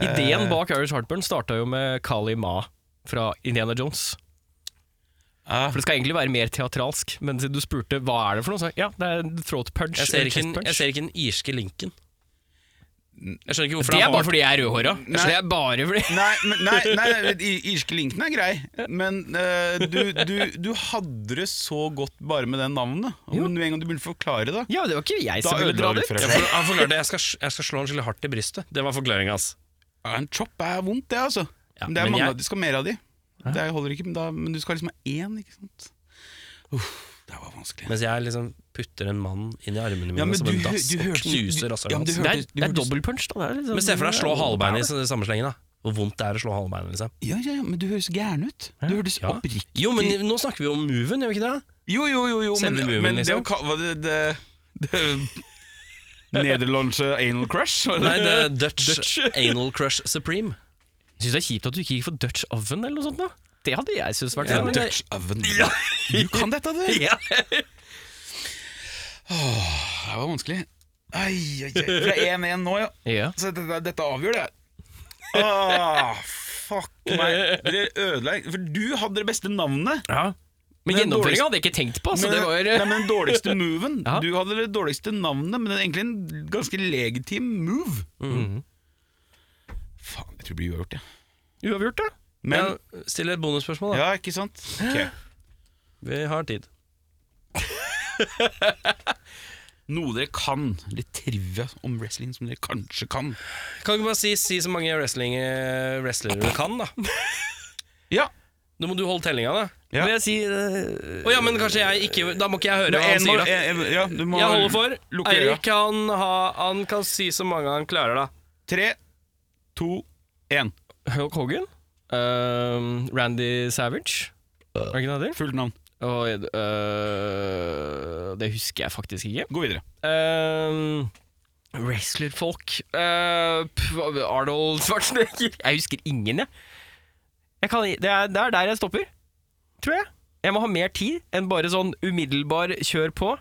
Ideen Eh. Eh, bak Irish Heartburn starta jo med Kali Ma fra Indiana Jones. Ah. For det skal egentlig være mer teatralsk, men siden du spurte hva er det for noe, så ja, det er en throat punch. Jeg ser, eller ikke, chest den- punch. jeg ser ikke den irske linken. Jeg skjønner ikke hvorfor Det han er har- bare fordi jeg er rødhåra. Jeg skjønner, Det er bare fordi (laughs) Nei, men, nei, nei, nei i- irske linken er grei, men eh, du, du, du hadde det så godt bare med det navnet. Om du en gang du begynte å forklare det Ja, det var ikke jeg Da som ville dra ødela du det for ut. Jeg for- Han forklarte jeg skal, jeg skal slå han skikkelig hardt i brystet. Det var forklaringa hans. ja, En chop er vondt, det, altså. Ja, men det er men mange jeg- av de skal ha mer av de. Det holder ikke, men, da, men du skal liksom ha én, ikke sant. Uff, det var vanskelig. Mens jeg liksom putter en mann inn i armene mine Ja, men som du en hø- dass du og hørte- knuser du- rasshølet ja, men du Det hans. er, hørtes- det er hørtes- dobbel punch, da. Det er liksom, Men se for deg å slå halebeinet i samme slengen, da. Hvor vondt det er å slå halebeinet, liksom. Ja, ja, ja, men du høres gæren ut. Du høres Ja. oppriktig Jo, men nå snakker vi om moven, gjør vi (laughs) ikke det? Jo, jo, jo, jo men, Sender du men muven, det å liksom? kalle det, det, det Nederlandse anal crush? var det Nei, det? det er Dutch, Anal Crush Supreme. Syns det er kjipt at du ikke gikk for Dutch oven eller noe sånt. da. Det hadde jeg syntes vært Ja, fint. men- Dutch oven. Du kan dette, (laughs) du! Ja. Det var vanskelig. Ai, ai, ai. Fra 1-1 nå, ja. Ja. Så dette, dette avgjør det. Ah, fuck meg. Dere ødela For du hadde det beste navnet. Men Men dårligst- gjennomføringa hadde jeg ikke tenkt på. Så Altså, Men- det var Nei, men Den (laughs) dårligste moven. Ja. Du hadde det dårligste navnet, men det er egentlig en ganske legitim move. Mm. Mm. Faen, jeg tror det blir uavgjort, jeg. uavgjort, da. Men Still et bonusspørsmål, da. Ja, ikke sant? Ok. Vi har tid. Noe dere kan. Litt trivia om wrestling som dere kanskje kan. Kan du ikke bare si, si så mange wrestling, eh, wrestlere du kan, da? (laughs) Ja. Nå må du holde tellinga, da. Ja. Vil jeg si Å ja, men kanskje jeg ikke Da må ikke jeg høre hva han En må, sier, da. en, en, ja, du må Jeg holder for. Lukke øya. Eirik han, ha- han kan si så mange han klarer, da. Tre, to, én. Hulk Hogan. Ehm, Randy Savage. Er det ikke det det? Fullt navn. heter? Og, øh, det husker jeg faktisk ikke. Gå videre. Ehm, Wrestlerfolk. Eh, pff, Arnold Schwarzenegger. Jeg husker ingen, jeg. jeg kan, det, er, det er der jeg stopper, tror jeg. Jeg må ha mer tid enn bare sånn umiddelbar kjør på.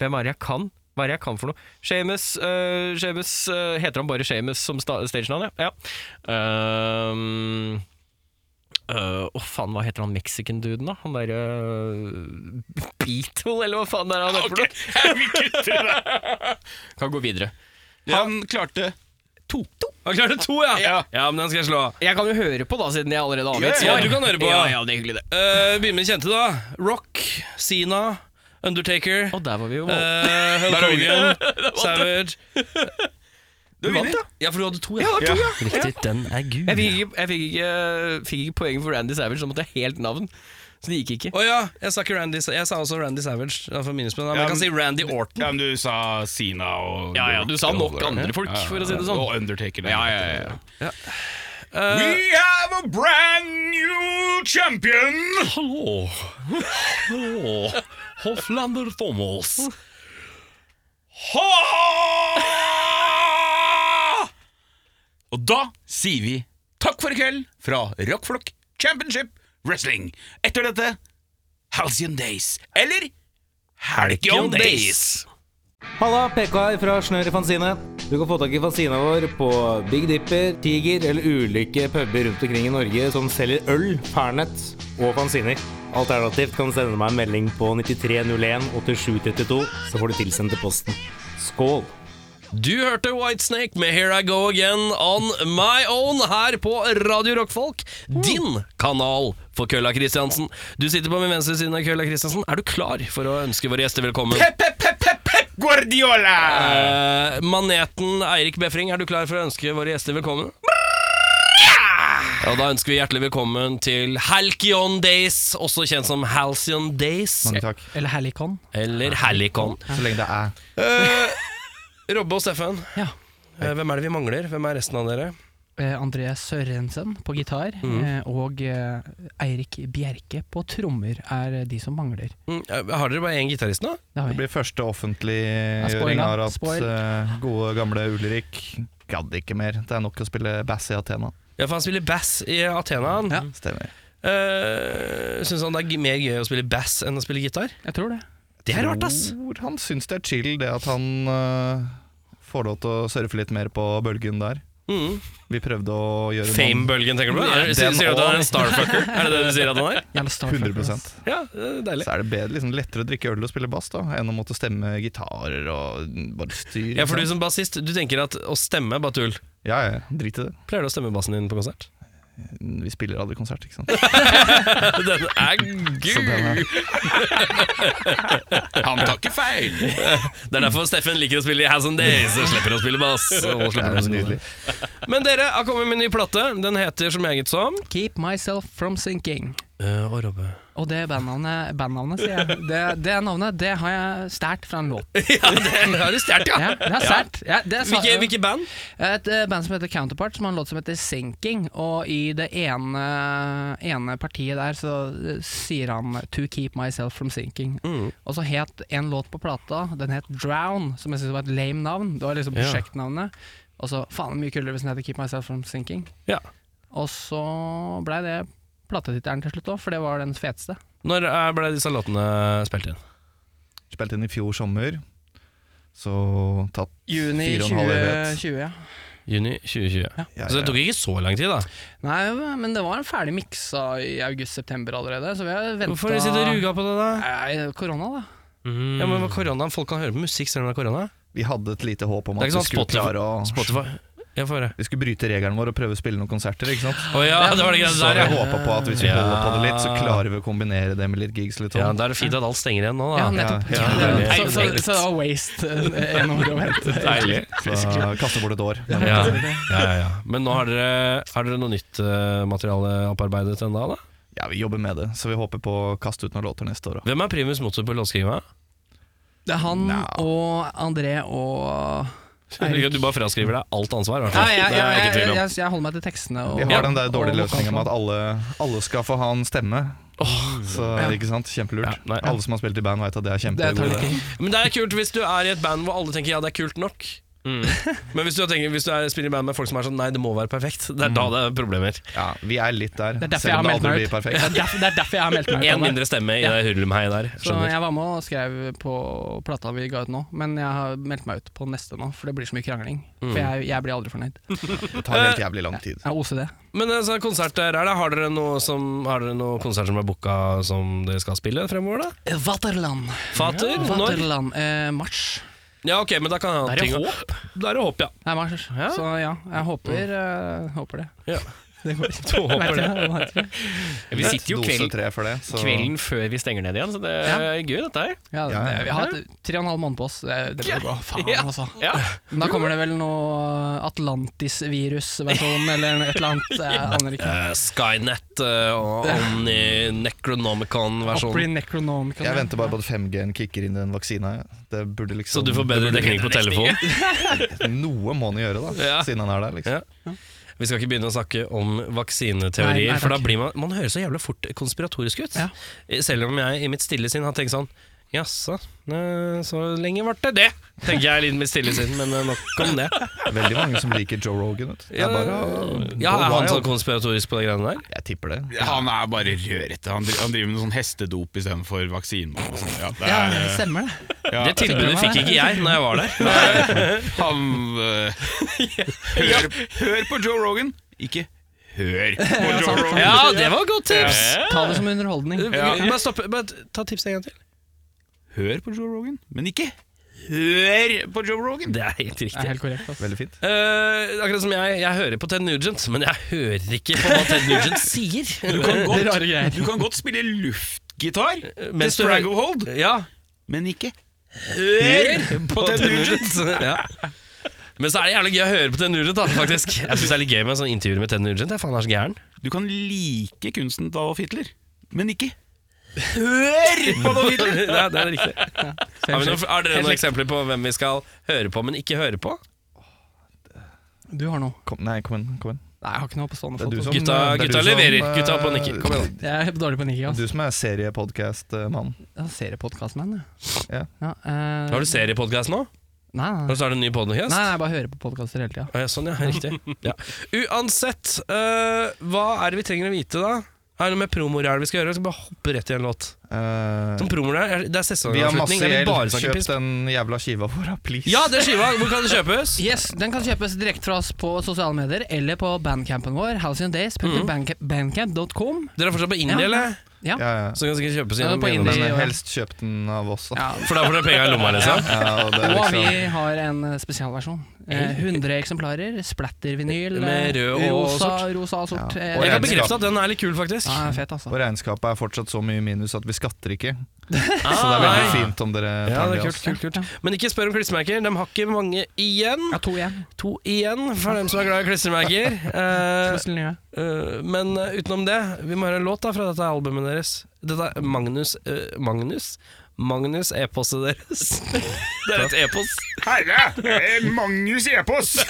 Hvem er det jeg kan? Hva er det jeg kan for noe? Seamus eh, Seamus, eh, Heter han bare Seamus som sta stagenavn, ja? ja. Ehm, øh, Å, faen, hva heter han mexican-duden, da? Han derre Beatle, eller hva faen det er han heter for noe? Kan gå videre. Han klarte to. Han klarte to, ja. ja! men den skal jeg slå. Jeg kan jo høre på, da, siden jeg allerede har Ja, avgitt ja, svar. du kan høre på. Ja, ja, det er hyggelig, det. Uh, Begynn med kjente, da. Rock, Sina, Undertaker, Og der var vi jo eh, Hulk (laughs) Der er vi. Hogan, Savage. Du vinner. Ja, for du hadde to, Ja, Ja. Riktig, den er gul. Jeg fikk ikke, jeg fikk ikke, eh, fikk ikke poeng for Randy Savage, så måtte jeg helt navn. Så det gikk ikke. Å ja, jeg sa, ikke Randy, jeg sa også Randy Savage. da, for minuspoeng, da, Men Ja, jeg kan men- si Randy Orton. Ja, men du sa Sina og Ja, ja, du sa nok andre folk, for å si det sånn. Og Undertaker. Ja, ja, ja, We have a brand new champion! Hallo. Hallo. Hoflander Thomas. Ha! Og da sier vi takk for i kveld fra Rockflokk Championship Wrestling. Etter dette Halcyon Days, eller Halcyon Days. Halla, PK her fra Snør i Fanzine. Du kan få tak i fanzina vår på Big Dipper, Tiger eller ulike puber rundt omkring i Norge som selger øl, pernett og fanziner. Alternativt kan du sende meg en melding på 9301 8732, så får du tilsendt til posten. Skål! Du hørte Whitesnake med Here I Go Again On My Own her på Radio Rockfolk. Din kanal for Kølla Kristiansen. Du sitter på min venstre side av Kølla Kristiansen. Er du klar for å ønske våre gjester velkommen? Pep, pep, pep, pep, pep, Guardiola! Eh, maneten Eirik Befring, er du klar for å ønske våre gjester velkommen? Ja, da ønsker vi hjertelig velkommen til Halcyon Days, også kjent som Halcyon Days. Takk. Eller Helicon. Eller Halicon. Så lenge det er Robbe og Steffen, Ja. eh, hvem er det vi mangler? Hvem er resten av dere? eh, André Sørensen på gitar Mhm. eh, og eh, Eirik Bjerke på trommer er eh, de som mangler. Mm, eh, har dere bare én gitarist nå? Det har Det vi. blir første offentliggjøring spoiler, av at spoil. eh, gode, gamle Ulrik gadd ikke mer. Det er nok å spille bass i Athena. Ja, for han spiller bass i Athena. Han. Ja. Stemmer. Eh, Syns han det er g- mer gøy å spille bass enn å spille gitar? Jeg tror det. Det er rart, ass! Tror han syns det er chill, det at han eh, får lov til å surfe litt mer på bølgen der. Mm. Vi prøvde å gjøre noen- Fame-bølgen, tenker du på? Er, sier, den sier du at han er og- en starfucker? Er det det du sier at han (laughs) er? Jævla Starfucker, 100 ass. Ja, det er deilig. Så er det bedre, liksom, lettere å drikke øl og spille bass da enn å måtte stemme gitarer og bare styr. Ja, for du liksom. som bassist, du tenker at å stemme er bare tull. ja, ja, drit i det. Pleier du å stemme bassen din på konsert? Vi spiller aldri konsert, ikke (laughs) (laughs) sant. Den er Så gul! den er, Han tar ikke feil! Det er derfor Steffen liker å spille i Has and Days og slipper å spille (laughs) bass. Og det slipper er å nydelig. Men dere har kommet med en ny plate. Den heter som jeg gitt som Keep Myself From Sinking. Eh, Og Robbe. Og det bandnavnet, bandnavnet sier jeg. Det, det navnet det har jeg stjålet fra en låt. (laughs) Ja, det har du stjålet, ja. Ja, det er sært. Ja, det er sa- Hvilke, hvilke band? Et eh, band som heter Counterpart, som har en låt som heter Sinking. Og i det ene, ene partiet der så eh, sier han 'To keep myself from sinking'. Og så het en låt på plata, den het 'Drown', som jeg syntes var et lame navn. Det var liksom Ja. prosjektnavnet. Og så faen mye kulere hvis den heter 'Keep myself from sinking'. Ja. Og så blei det platetittelen til slutt òg, for det var den feteste. Når eh, ble disse låtene spilt inn? Spilte inn i fjor sommer, så tatt Juni Fire og en halv evighet. 2020, ja. Juni 2020. ja, Så det ja. tok ikke så lang tid, da. Nei, men det var en ferdig miksa i august-september allerede, så vi har venta Hvorfor sitter du og ruga på det, da? Nei, korona, da. Mm. Ja, men med korona, Folk kan høre på musikk selv om det er korona. Vi hadde et lite håp om Det er at ikke vi sånn skulle Spotify- klare å Spotify. Jeg får høre. Vi skulle bryte regelen vår og prøve å spille noen konserter, ikke sant? Å ja, det var det Så greia der, jeg ja. håpa på at hvis vi Ja. holder på det litt, så klarer vi å kombinere det med litt gigs. Litt ja. sånn. Da er det fint at alt stenger igjen nå, Ja, da. nettopp. ja, Det er- deilig. så, så, så det var waste eh, en år å (laughs) vente. Deilig. så kaste bort et år. Men Ja, ja, ja, ja. Men nå har dere, har dere noe nytt eh, materiale opparbeidet ennå, da? ja, vi jobber med det, så vi håper på å kaste ut noen låter neste år. da. Hvem er primus motor på låtskrivinga? Det er han Nei. og André og Eirik. Du bare fraskriver deg alt ansvar, i hvert Ja, fall. jeg, Det er jeg, ikke jeg, tvil jeg, om. jeg, holder meg til tekstene. Og, Vi har den der og dårlige vokalene. løsninga med at alle, alle skal få ha en stemme. Så ikke sant, Kjempelurt. Ja, nei. Alle som har spilt i band, veit at det er Det tar kjempelurt. litt tid. Men det er kult hvis du er i et band hvor alle tenker ja, det er kult nok. (laughs) Men hvis du, tenker, hvis du er, spiller i band med folk som er sånn nei, det må være perfekt, det er da det er problemer. Ja, vi er litt der, Det er derfor selv jeg har om det meldt aldri meg blir ut. Det perfekt. er derfor, det er derfor jeg har meldt meg Én ut. Anne. mindre stemme i det hurlumhei der. Så Skjønner. jeg var med og skrev på plata vi ga ut nå, men jeg har meldt meg ut på neste nå, for det blir så mye krangling. For jeg, jeg blir aldri fornøyd. Det tar Eh, helt jævlig lang tid. Jeg er OCD. Men eh, så konsert der, er det, har dere noe som, har dere noe konsert som er booka som dere skal spille fremover, da? Vaterland. Fater? Når? Vaterland. Eh, mars. Ja, ok, men da kan jeg ha Det er ting å- Det er håp, ja. Nei, mars. Ja. Så ja, jeg håper, eh, håper det. Ja. Det går ikke. Du håper Vet det. jeg, vet jeg. Vi sitter jo Dose kveld, tre for det. Så kvelden før vi stenger ned igjen, så det er gøy, dette her. Ja, det, Ja, ja. vi har hatt tre og en halv måned på oss. Det, det blir bra. Faen, Ja. altså. Ja. Men da kommer det vel noe Atlantis-virus-versjon eller et eller annet. Jeg aner ikke. Eh, Skynet eh, og Omni Necronomicon-versjonen. Opry Necronomicon. Jeg venter bare på at 5G-en kicker inn i den vaksina. jeg. Det burde liksom Så du får bedre dekning på telefon. Noe må han gjøre, da, Ja. siden han er der. liksom Ja. Vi skal ikke begynne å snakke om Nei, vaksineteorier, nei, for da takk. blir man Man høres så jævla fort konspiratorisk ut. Ja. Selv om jeg i mitt stille sinn har tenkt sånn Jaså, eh, så lenge ble det det? Tenker jeg litt med stille sinn, men eh, nok om det. Veldig mange som liker Joe Rogan. Vet. du. Det Ja, er bare ja, er han så Wild. konspiratorisk på de greiene der? Jeg tipper det. Han er bare rørete. Han, dri- han driver med sånn hestedop istedenfor vaksine. og sånn. Ja, det Ja, er, det eh, stemmer det. ja, Det tilbudet fikk ikke jeg når jeg var der. (laughs) Han eh, hør, hør på Joe Rogan, ikke (laughs) hør på Joe Rogan. Ja, det var et godt tips! Ta det som underholdning. Bare stopp, bare ta tipset en gang til. Hør på Joe Rogan, men ikke hør på Joe Rogan. Det er helt Det er riktig. helt korrekt. Altså. Veldig fint. Eh, akkurat som jeg, jeg hører på Ted Nugent, men jeg hører ikke på hva Ted Nugent sier. Du kan godt, du kan godt spille luftgitar til Eh, Mens du- Stranglehold, Ja, men ikke Hør på Ted Nugent! ja. Men så er det jævlig gøy å høre på Ted Nugent, da, faktisk. Jeg synes det er litt gøy med sånne intervjuer med Ted Nugent. Jeg faen han er så gæren. Du kan like kunsten til Adolf Hitler, men ikke hør på Adolf Hitler! det, er, det er riktig. Har, vi noen, har dere noen eksempler på hvem vi skal høre på, men ikke høre på? Du har noe. Kom, nei, kom igjen. Kom igjen. Nei, jeg har ikke noe på stående Det er du fot. som- altså. Gutta, det er du gutta som, leverer. eh, Gutta på nikker. Kom igjen. Jeg er dårlig på Du nikking. Altså. som er seriepodkast-mann. Jeg ser podkastmenn, jeg. Ja. eh, Har du seriepodkast nå? Nei, nei. Og så er det en ny podcast? Nei, nei, jeg bare hører på podkaster hele tida. Ah, ja, sånn, ja. Riktig. Ja. Uansett, eh, hva er det vi trenger å vite, da? Er det noe med promoer her vi skal gjøre? Vi skal bare hoppe rett i en låt. Eh, Som promoer er, det er vi har masse sesongavslutning. Det er gjeld. bare snakke Kjøp piss. den jævla skiva vår, da, please. Ja, det er skiva! Hvor kan det kjøpes? Yes, Den kan kjøpes direkte fra oss på sosiale medier eller på bandcampen vår. Mhm. houseindays.bandcamp.com. Dere er fortsatt på indie, Ja. eller? Ja. ja, ja. Så kan dere kjøpes Ja, gjennom på gjennom- Indie. Men ja. helst kjøp den av oss, da. ja. For da får dere penger i lomma, liksom? Ja, og det er Og vi liksom, har en eh, spesialversjon. Eh, 100 eksemplarer, splatter-vinyl, Med eh, rød og rosa, rosa og sort. Ja. eh, Jeg kan Og regnskap. bekrefte at den er litt kul, faktisk. Ja, fet, altså. og regnskapet er fortsatt så mye minus at vi skatter ikke. (laughs) Ah, Så det er veldig nei. fint om dere Ja, tar det er det altså. av oss. kult, kult, kult. Men ikke spør om klistremerker. De har ikke mange igjen. Ja, to igjen. To igjen for dem som er glad i (laughs) klistremerker. Eh, Hvordan gjør jeg? eh, men eh, utenom det, vi må høre en låt da fra dette albumet deres. Dette er Magnus eh, Magnus? Magnus e-postet (laughs) deres. Det er et e-post. Herre, eh, Magnus (laughs) Epos!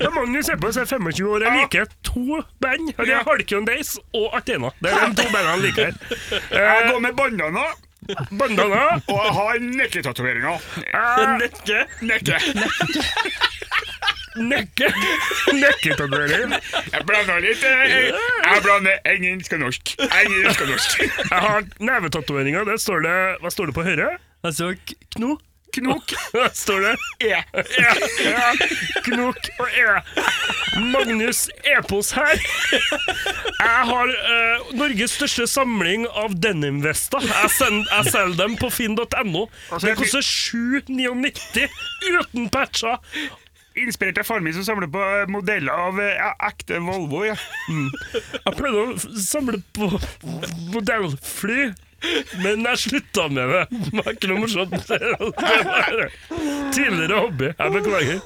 Ja, Magnus Ebbes er 25 år. Jeg liker to band. og Det er Halcyon Days og Artena. Det (laughs) er de to bandene jeg liker. Jeg går med bandana, Bandana og jeg har nekketatoveringer. Nekke. Nekke. Nekke. Nekketatovering. Jeg blander litt eh, Jeg blander engelsk og norsk. Engelsk og norsk. Jeg har nevetatoveringer. Der står det Hva står det på høyre? Altså, kno. Knok. Der står det E. E. E. Knok og E. Magnus Epos her. Jeg har eh, Norges største samling av denimvester. Jeg, send- jeg selger dem på finn.no. Altså, Det koster 7,99 uten patcher. Inspirert av faren min som samler på eh, modeller av eh, ja, ekte (laughs) Volvo. Ja. Jeg pleide å f- samle på modellfly, men jeg slutta med det. Det var ikke noe morsomt. Det var Tidligere hobby. Jeg beklager.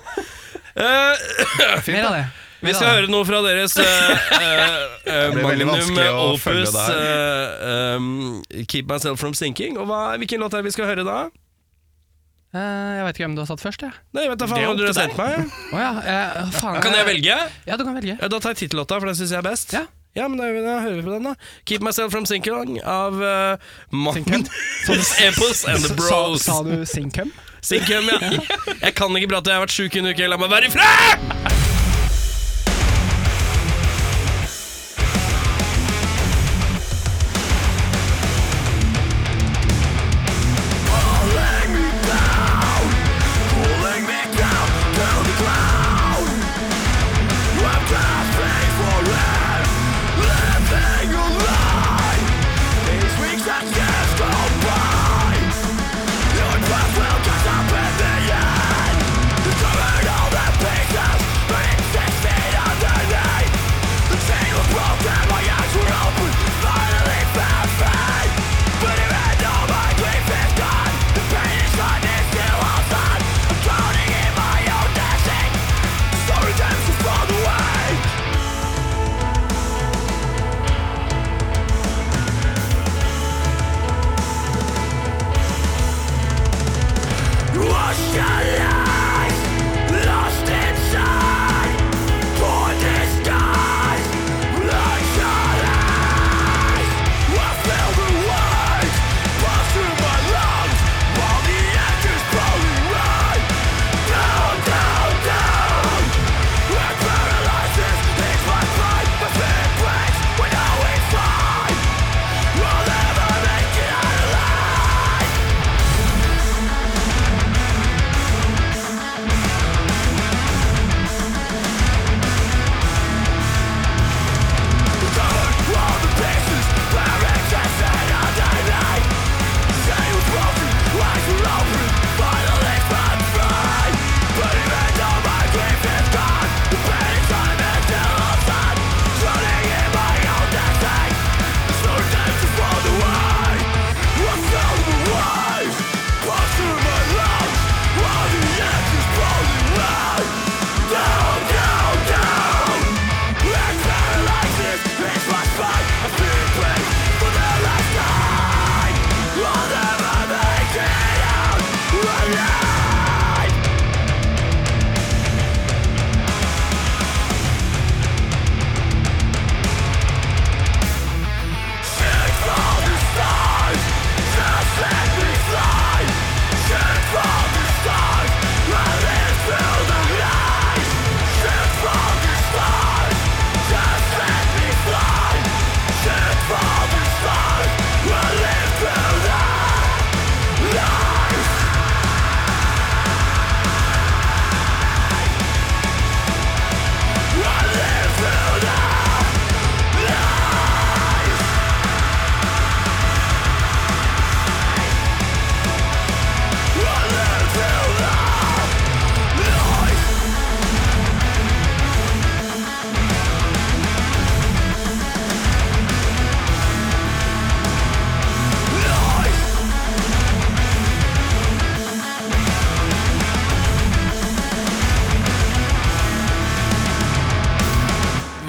Mer av det. Vi skal høre noe fra deres eh, eh, eh, blir veldig magnum vanskelig å følge opus det her. eh, um, Keep Myself From Sinking. Og hva, hvilken låt er det vi skal høre da? Eh, jeg vet ikke hvem du har satt først, jeg. Nei, vet da faen hva dere har sendt meg. Å ja, eh, faen. Kan jeg eh, velge? Ja, du kan velge. Ja, da tar jeg tittellåta, for den syns jeg er best. Ja. men da, gjør vi det. da hører vi på den, da. 'Keep Myself From Sinking' av uh, (laughs) Magnus Epos and The Bros. Sa, sa du (laughs) Sinkum? Sinkum, ja. Jeg kan ikke prate, jeg har vært sjuk i en uke. La meg være i fred!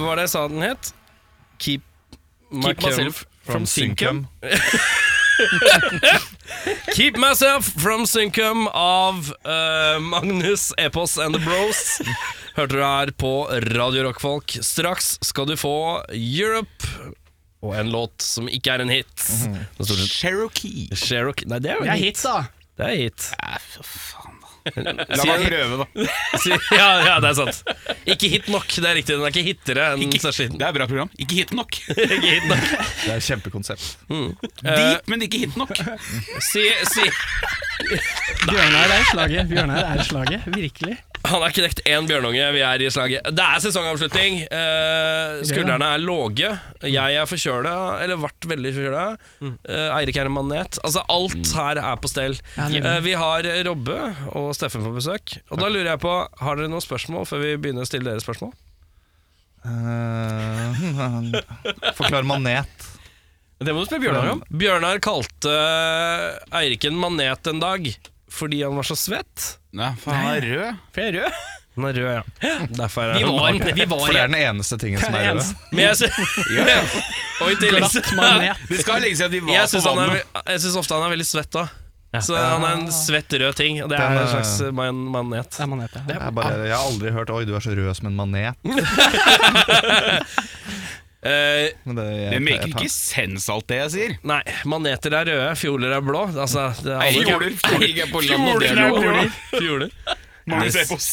var det jeg sa den het? Keep, Keep myself from Syncum. syncum. Keep myself from syncum av eh, Magnus, Epos and the Bros. Hørte du her på Radio Rockfolk. Straks skal du få Europe og en låt som ikke er en hit. Det er stort sett Cherokee. Cherokee Nei, det er jo Det en er hit. hit, da. Det er hit. La meg prøve, da. Sier- (laughs) Ja, ja, det er sant. Ikke hit nok, det er riktig. Den er ikke hittere enn største hiten. Mm. Det er et bra program. Ikke hit nok. Ikke hit nok. Det er et kjempekonsept. Deep, men ikke hit nok. Si, si. Bjørnar er i slaget. Bjørnar er i slaget, virkelig. Han er knekt én bjørnunge, vi er i slaget. Det er sesongavslutning. Eh, skuldrene er låge. Jeg er forkjøla, eller ble veldig forkjøla. Mm. Eh, Eirik er en manet. Altså, alt her er på stell. Ja, nydelig. Eh, vi har Robbe og Steffen på besøk. Og da lurer jeg på, har dere noen spørsmål før vi begynner å stille dere spørsmål? Eh, (laughs) Forklar manet. Det må du spørre Bjørnar, om? Bjørnar kalte eh, Eirik en manet en dag fordi han var så svett. Nei, faen, han er rød. Han er rød, ja. (laughs) Derfor er Vi (laughs) han var, vi For var det er den eneste tingen som er rød. Men jeg sy- (laughs) Og i tillegg Det skal legge seg at de var Jeg på syns han er vannet. ve- jeg syns ofte han er veldig svett da. Så han er en svett rød ting. Og det er Den en er- slags eh, man manet. Det er manet, ja. Jeg, bare, Ah. jeg har aldri hørt 'oi, du er så rød som en manet'. Mm. Eh, Men det, jeg, Det jeg maker tar- ikke sens, alt det jeg sier. nei, maneter er røde, fjoler er blå. Altså, det er alle- Fjoler ikke på land, og det Fjoler er er lov. blå. (laughs) Fjoler. Magnus Epos.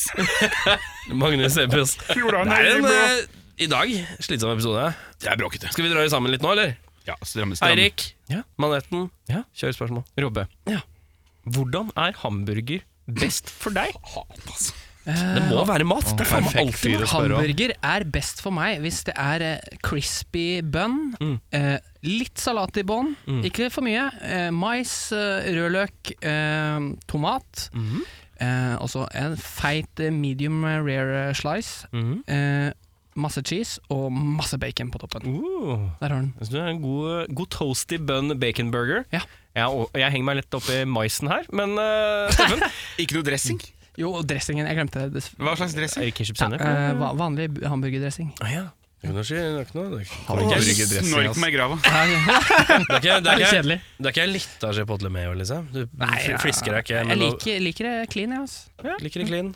Magnus (laughs) Epos. Det er en eh, i dag slitsom episode. Det er bråkete. Skal vi dra det sammen litt nå, eller? Ja, stramme, stramme. Eirik, maneten, Ja. kjør spørsmål. Robbe, hvordan er hamburger best for deg? Det må være mat. Det er faen meg perfekt alltid fyr å spørre om. Hamburger er best for meg hvis det er eh, crispy bun, Mm. eh, litt salat i bånn, ikke for mye, eh, mais, eh, rødløk, eh, tomat, Mm-hmm. eh, og så en feit eh, medium rare slice, Mm-hmm. eh, masse cheese og masse bacon på toppen. Uh, Der har den. jeg synes det er en god, god toasty bun bacon burger. Ja. Jeg, er o- jeg henger meg litt opp i maisen her, men eh, (laughs) Steffen? Ikke noe dressing? Jo, og dressingen, jeg glemte det. dess- Hva slags dressing? Eirik Kiship Sennep? Eh, va- vanlig bu- hamburgerdressing. Ah, ja. Det er ikke noe- det er Hamburgerdressing, Snork ass. meg i grava. ikke- det er Litt ikke- kjedelig. det er ikke litt av Chipotle Mayo, liksom. Du Nei, Nei, frisker deg ikke. Jeg men da- liker, liker det clean, jeg, altså. Liker det clean.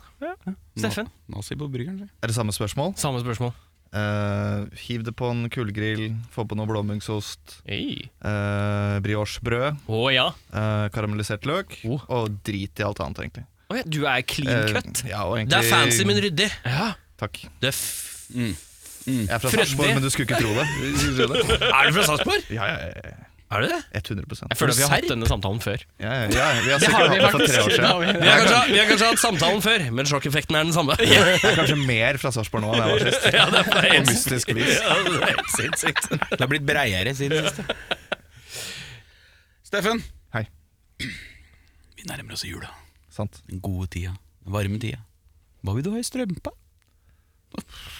Steffen? Nå ser vi på burgeren. Er det samme spørsmål? Samme spørsmål. Eh, hiv det på en kullgrill, få på noe blåmuggost, Å uh, briochebrød, ja. eh, karamellisert løk, Oh. og drit i alt annet, egentlig. Å ja. Du er clean Eh, cut. ja, og egentlig Det er fancy, men ryddig. Takk. Det er, f Jeg er fra Freddy. Sarpsborg, men du skulle ikke tro det. Du skulle ikke tro det. er du fra Sarpsborg? (laughs) Ja, ja, ja, ja. Er du det? 100 Jeg føler at vi har Serr? hatt denne samtalen før. Ja, ja, ja. Vi har Det har sikkert vi hatt det for tre faktisk. år Det har siden. vi. Vi har kanskje, vi har kanskje hatt samtalen før, men sjokkeffekten er den samme. Jeg er kanskje mer fra Sarpsborg nå enn jeg var sist. Ja, det er På mystisk vis. helt sinnssykt. (laughs) Det har blitt breiere siden sist. Steffen. Hei. Vi nærmer oss jula. Sant. Den gode tida. Den varme tida. Hva vil du ha i strømpa?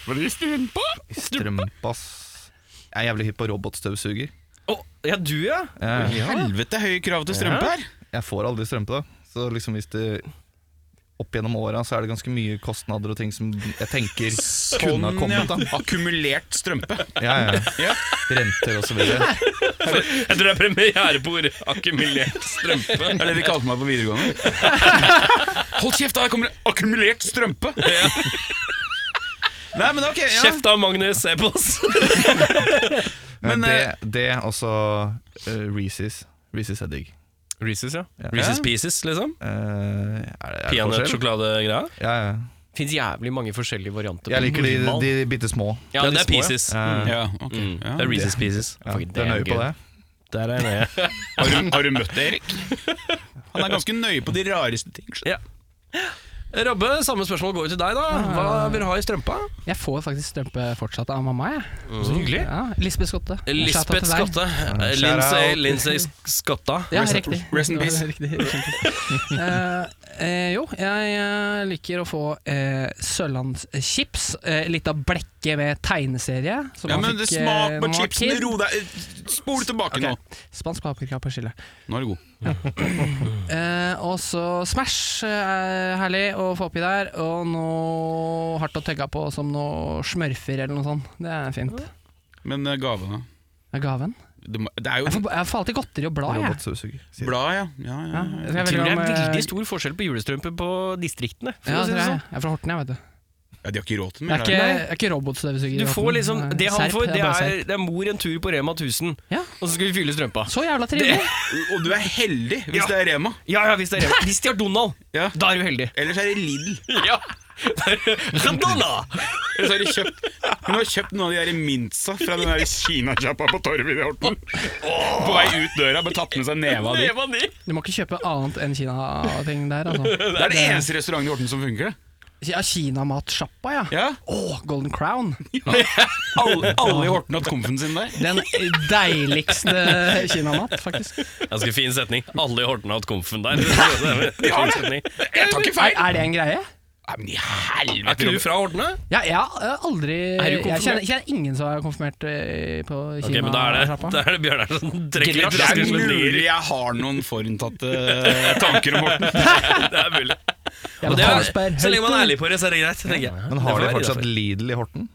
Hva vil du ha i strømpa? Strømpass. Jeg er jævlig hypp på robotstøvsuger. Å, ja, du ja? Jeg, Helvete høye krav til strømpe her. jeg får aldri strømpe, da. Så liksom hvis det opp gjennom åra så er det ganske mye kostnader og ting som jeg tenker Sånn, kunne ha kommet, da. Akkumulert strømpe. Ja, ja. Renter og så videre. Jeg tror det er premiere på ordet akkumulert strømpe. Det er det de kalte meg på videregående. (laughs) Hold kjeft, da! Her kommer det akkumulert strømpe! Nei, men ok, ja. Kjeft av Magnus Epos. Men, Men, det, det også uh, Reeses. Reeses er digg. Reeces, ja. Reeces Pieces, liksom. Eh, er det, er det forskjell? Peanøttsjokoladegreia. Ja, ja. Fins jævlig mange forskjellige varianter. Jeg liker de, normal. de bitte små. Ja, det er Pieces. Eh, Ja, ok. Ja. Det er Reeces Pieces. ja, Fuck, det du er er nøye på gøy. det? Der er jeg med. Har, du, har du møtt det, Erik? Han er ganske nøye på de rareste ting. skjønner Robbe, samme spørsmål går jo til deg, da. Hva vil du ha i strømpa? Jeg får faktisk strømpe fortsatt av mamma, jeg. Mm. Så hyggelig. Ja, Lisbeth Skotte. Shout out Lisbeth til deg. Skotte. Eh, shout Lindsay, out. Lindsay Skotta. Ja, riktig. rest in Det var peace. Riktig. (laughs) Eh, Eh, jo, jeg eh, liker å få eh, Sørlandschips. Eh, litt av blekket med tegneserie. Som Ja, man men det fikk, eh, Smak på når man var chipsen, kid. ro deg eh, Spol tilbake Ok. nå. Spansk paprika på chili. Nå er du god. Eh, og så Smash eh, er herlig å få oppi der. Og noe hardt å tøgge på som noe smørfer eller noe sånt. Det er fint. Men eh, gavene Det er gaven. det, må- det er Jeg jo får, jeg får alltid godteri og blad, jeg. Robotstøvsuger. sier jeg. blad, ja. Ja, ja, Ja, ja. jeg vet Jeg tror ikke det om, er eh, veldig stor forskjell på julestrømper på distriktene. For ja, å si det det er, sånn. jeg. jeg er fra Horten, jeg, vet du. ja De har ikke råd til Jeg mer. har er ikke, de? jeg er ikke robotstøvsuger. i Du Horten. får liksom, det han Serp, får, det bare er, serp. det er mor en tur på Rema 1000, Ja. og så skal vi fylle strømpa. Så jævla trivelig! Og du er heldig hvis Ja. det er Rema. Ja, ja, hvis, det er Rema. hvis de har Donald, Ja. da er du heldig. Ellers er det Lidl. (laughs) Ja. Donald! Ellers har de kjøpt Hun har kjøpt noen av de der Mintsa fra den der kinasjappa på Torvet i Horten. På vei ut døra, bare tatt med seg neva di. Rema 9. Du må ikke kjøpe annet enn Kina-ting der, altså. Det er den eneste restauranten i Horten som funker. det. Ja, Kinamatsjappa, ja. Å, Ja. Golden Crown. Alle, alle i Horten har hatt komfen sin der. Den deiligste kinamat, faktisk. Ganske fin setning. Alle i Horten har hatt komfen der. Det er en fin setning. Jeg tar ikke feil! Er, er det en greie? Nei, men i Er helvete, ikke du Robert. fra Horten, da? Ja, jeg har aldri Er Jeg du konfirmert? kjenner, jeg kjenner ingen som er konfirmert eh, på Ok, men da er det, Kinasjappa. da er det Bjørnar som trekker litt Det raskere er som en mulig lyr. jeg har noen forutinntatte (laughs) tanker om Horten. Det er mulig. Jævla Og det er, Carlsberg, så lenge man er Helter. ærlig på det, så er det greit. tenker jeg. Men Det har får de være fortsatt innenfor. Lidl i Horten?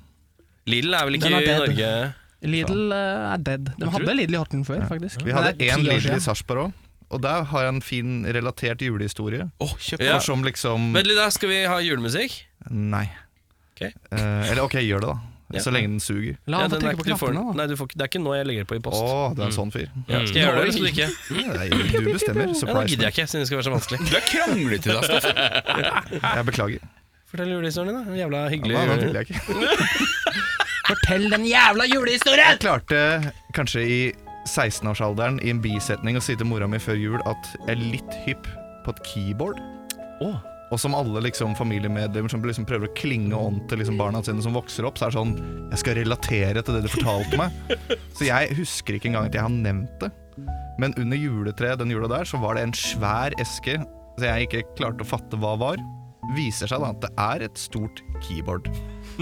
Lidl er vel ikke Den er i dead. Norge Lidl eh, er dead. De hadde Lidl i Horten før, faktisk. Vi Men hadde det er én ti år Lidl i siden. Sarpsborg òg, og der har jeg en fin relatert julehistorie. Åh, kjøp Ja. For som liksom Vent litt, da. Skal vi ha julemusikk? Nei. Ok. Eh, eller ok, gjør det, da. Ja. Så lenge den suger. La Ja, han den få er trykke på ikke- du får knappene, den. da. Nei, du får ikke, det er ikke nå jeg legger det på i Å, post. du er en sånn fyr. Mm. Ja, skal jeg gjøre det, eller skal du ikke? Nei, du Mm. Ja, bestemmer. da gidder Surprise. jeg ikke, siden det skal være så vanskelig. (laughs) Du er kranglete i dag, Steffen. Jeg beklager. Fortell julehistorien din, da. En Jævla hyggelig. Nei, den vil jeg ikke. Fortell den jævla julehistorien! Jeg klarte kanskje i 16-årsalderen i en bisetning å si til mora mi før jul at jeg er litt hypp på et keyboard. Å. Og som alle liksom familiemedlemmer som liksom prøver å klinge ånd til liksom barna sine som vokser opp, så er det sånn Jeg skal relatere til det du fortalte meg. Så jeg husker ikke engang at jeg har nevnt det. Men under juletreet den jula der, så var det en svær eske så jeg ikke klarte å fatte hva var. Viser seg da at det er et stort keyboard.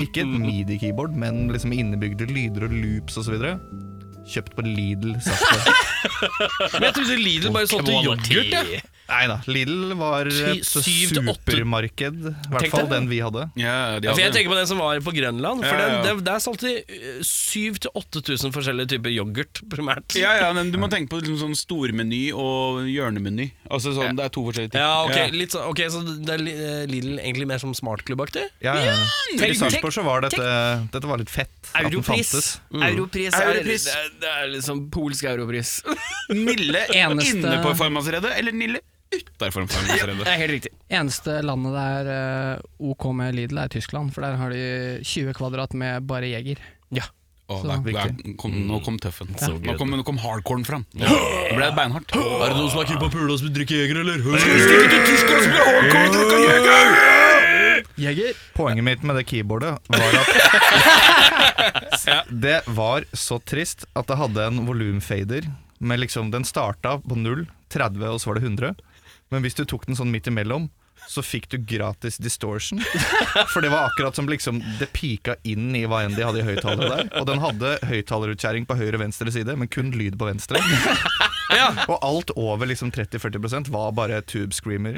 Ikke (laughs) et midi-keyboard, men liksom innebygde lyder og loops osv. Kjøpt på Lidl. (laughs) Sarpsborg. Men jeg trodde Lidl bare solgte yoghurt, jeg. Nei da, Lidl var Ti- et syv til åtte. supermarked. I Tenk hvert fall deg. den vi hadde. Ja, de Ja, for jeg hadde. tenker på den som var på Grønland. For Ja, ja, ja. Den, der- Der solgte de eh, 7000-8000 forskjellige typer yoghurt, primært. ja, ja, men du må tenke på liksom sånn stormeny og hjørnemeny. Altså sånn, Det er to forskjellige ting. Ja, ok, litt sånn- ok, Så det er li- eh, Lidl egentlig mer som smartklubbaktig? Ja, ja. I Sarpsborg så var dette Dette var litt fett at den fantes. Europris. Mm. Europris er, Europris. Det, er, det er liksom polsk europris. (laughs) Nille Eneste- inne på farmasredet, eller Nille utafor farmasredet. (laughs) Det er helt riktig. Eneste landet det er eh, ok med Lidl, er Tyskland. For der har de 20 kvadrat med bare Jeger. Å, Så- der, der kom, nå kom tøffen. Mm. Nå kom, nå kom hardcoren fram. Nå ble det beinhardt. Er det noen som er keen på å pule og drikke Jeger, eller? Jeger? Poenget mitt med det keyboardet var at Det var så trist at det hadde en volumfader med liksom Den starta på 0, 30 og så var det 100. Men hvis du tok den sånn midt imellom, så fikk du gratis distortion. For det var akkurat som liksom det pika inn i hva enn de hadde i høyttalere der. Og den hadde høyttalerutkjerring på høyre og venstre side, men kun lyd på venstre. Og alt over liksom 30-40 var bare tube screamer.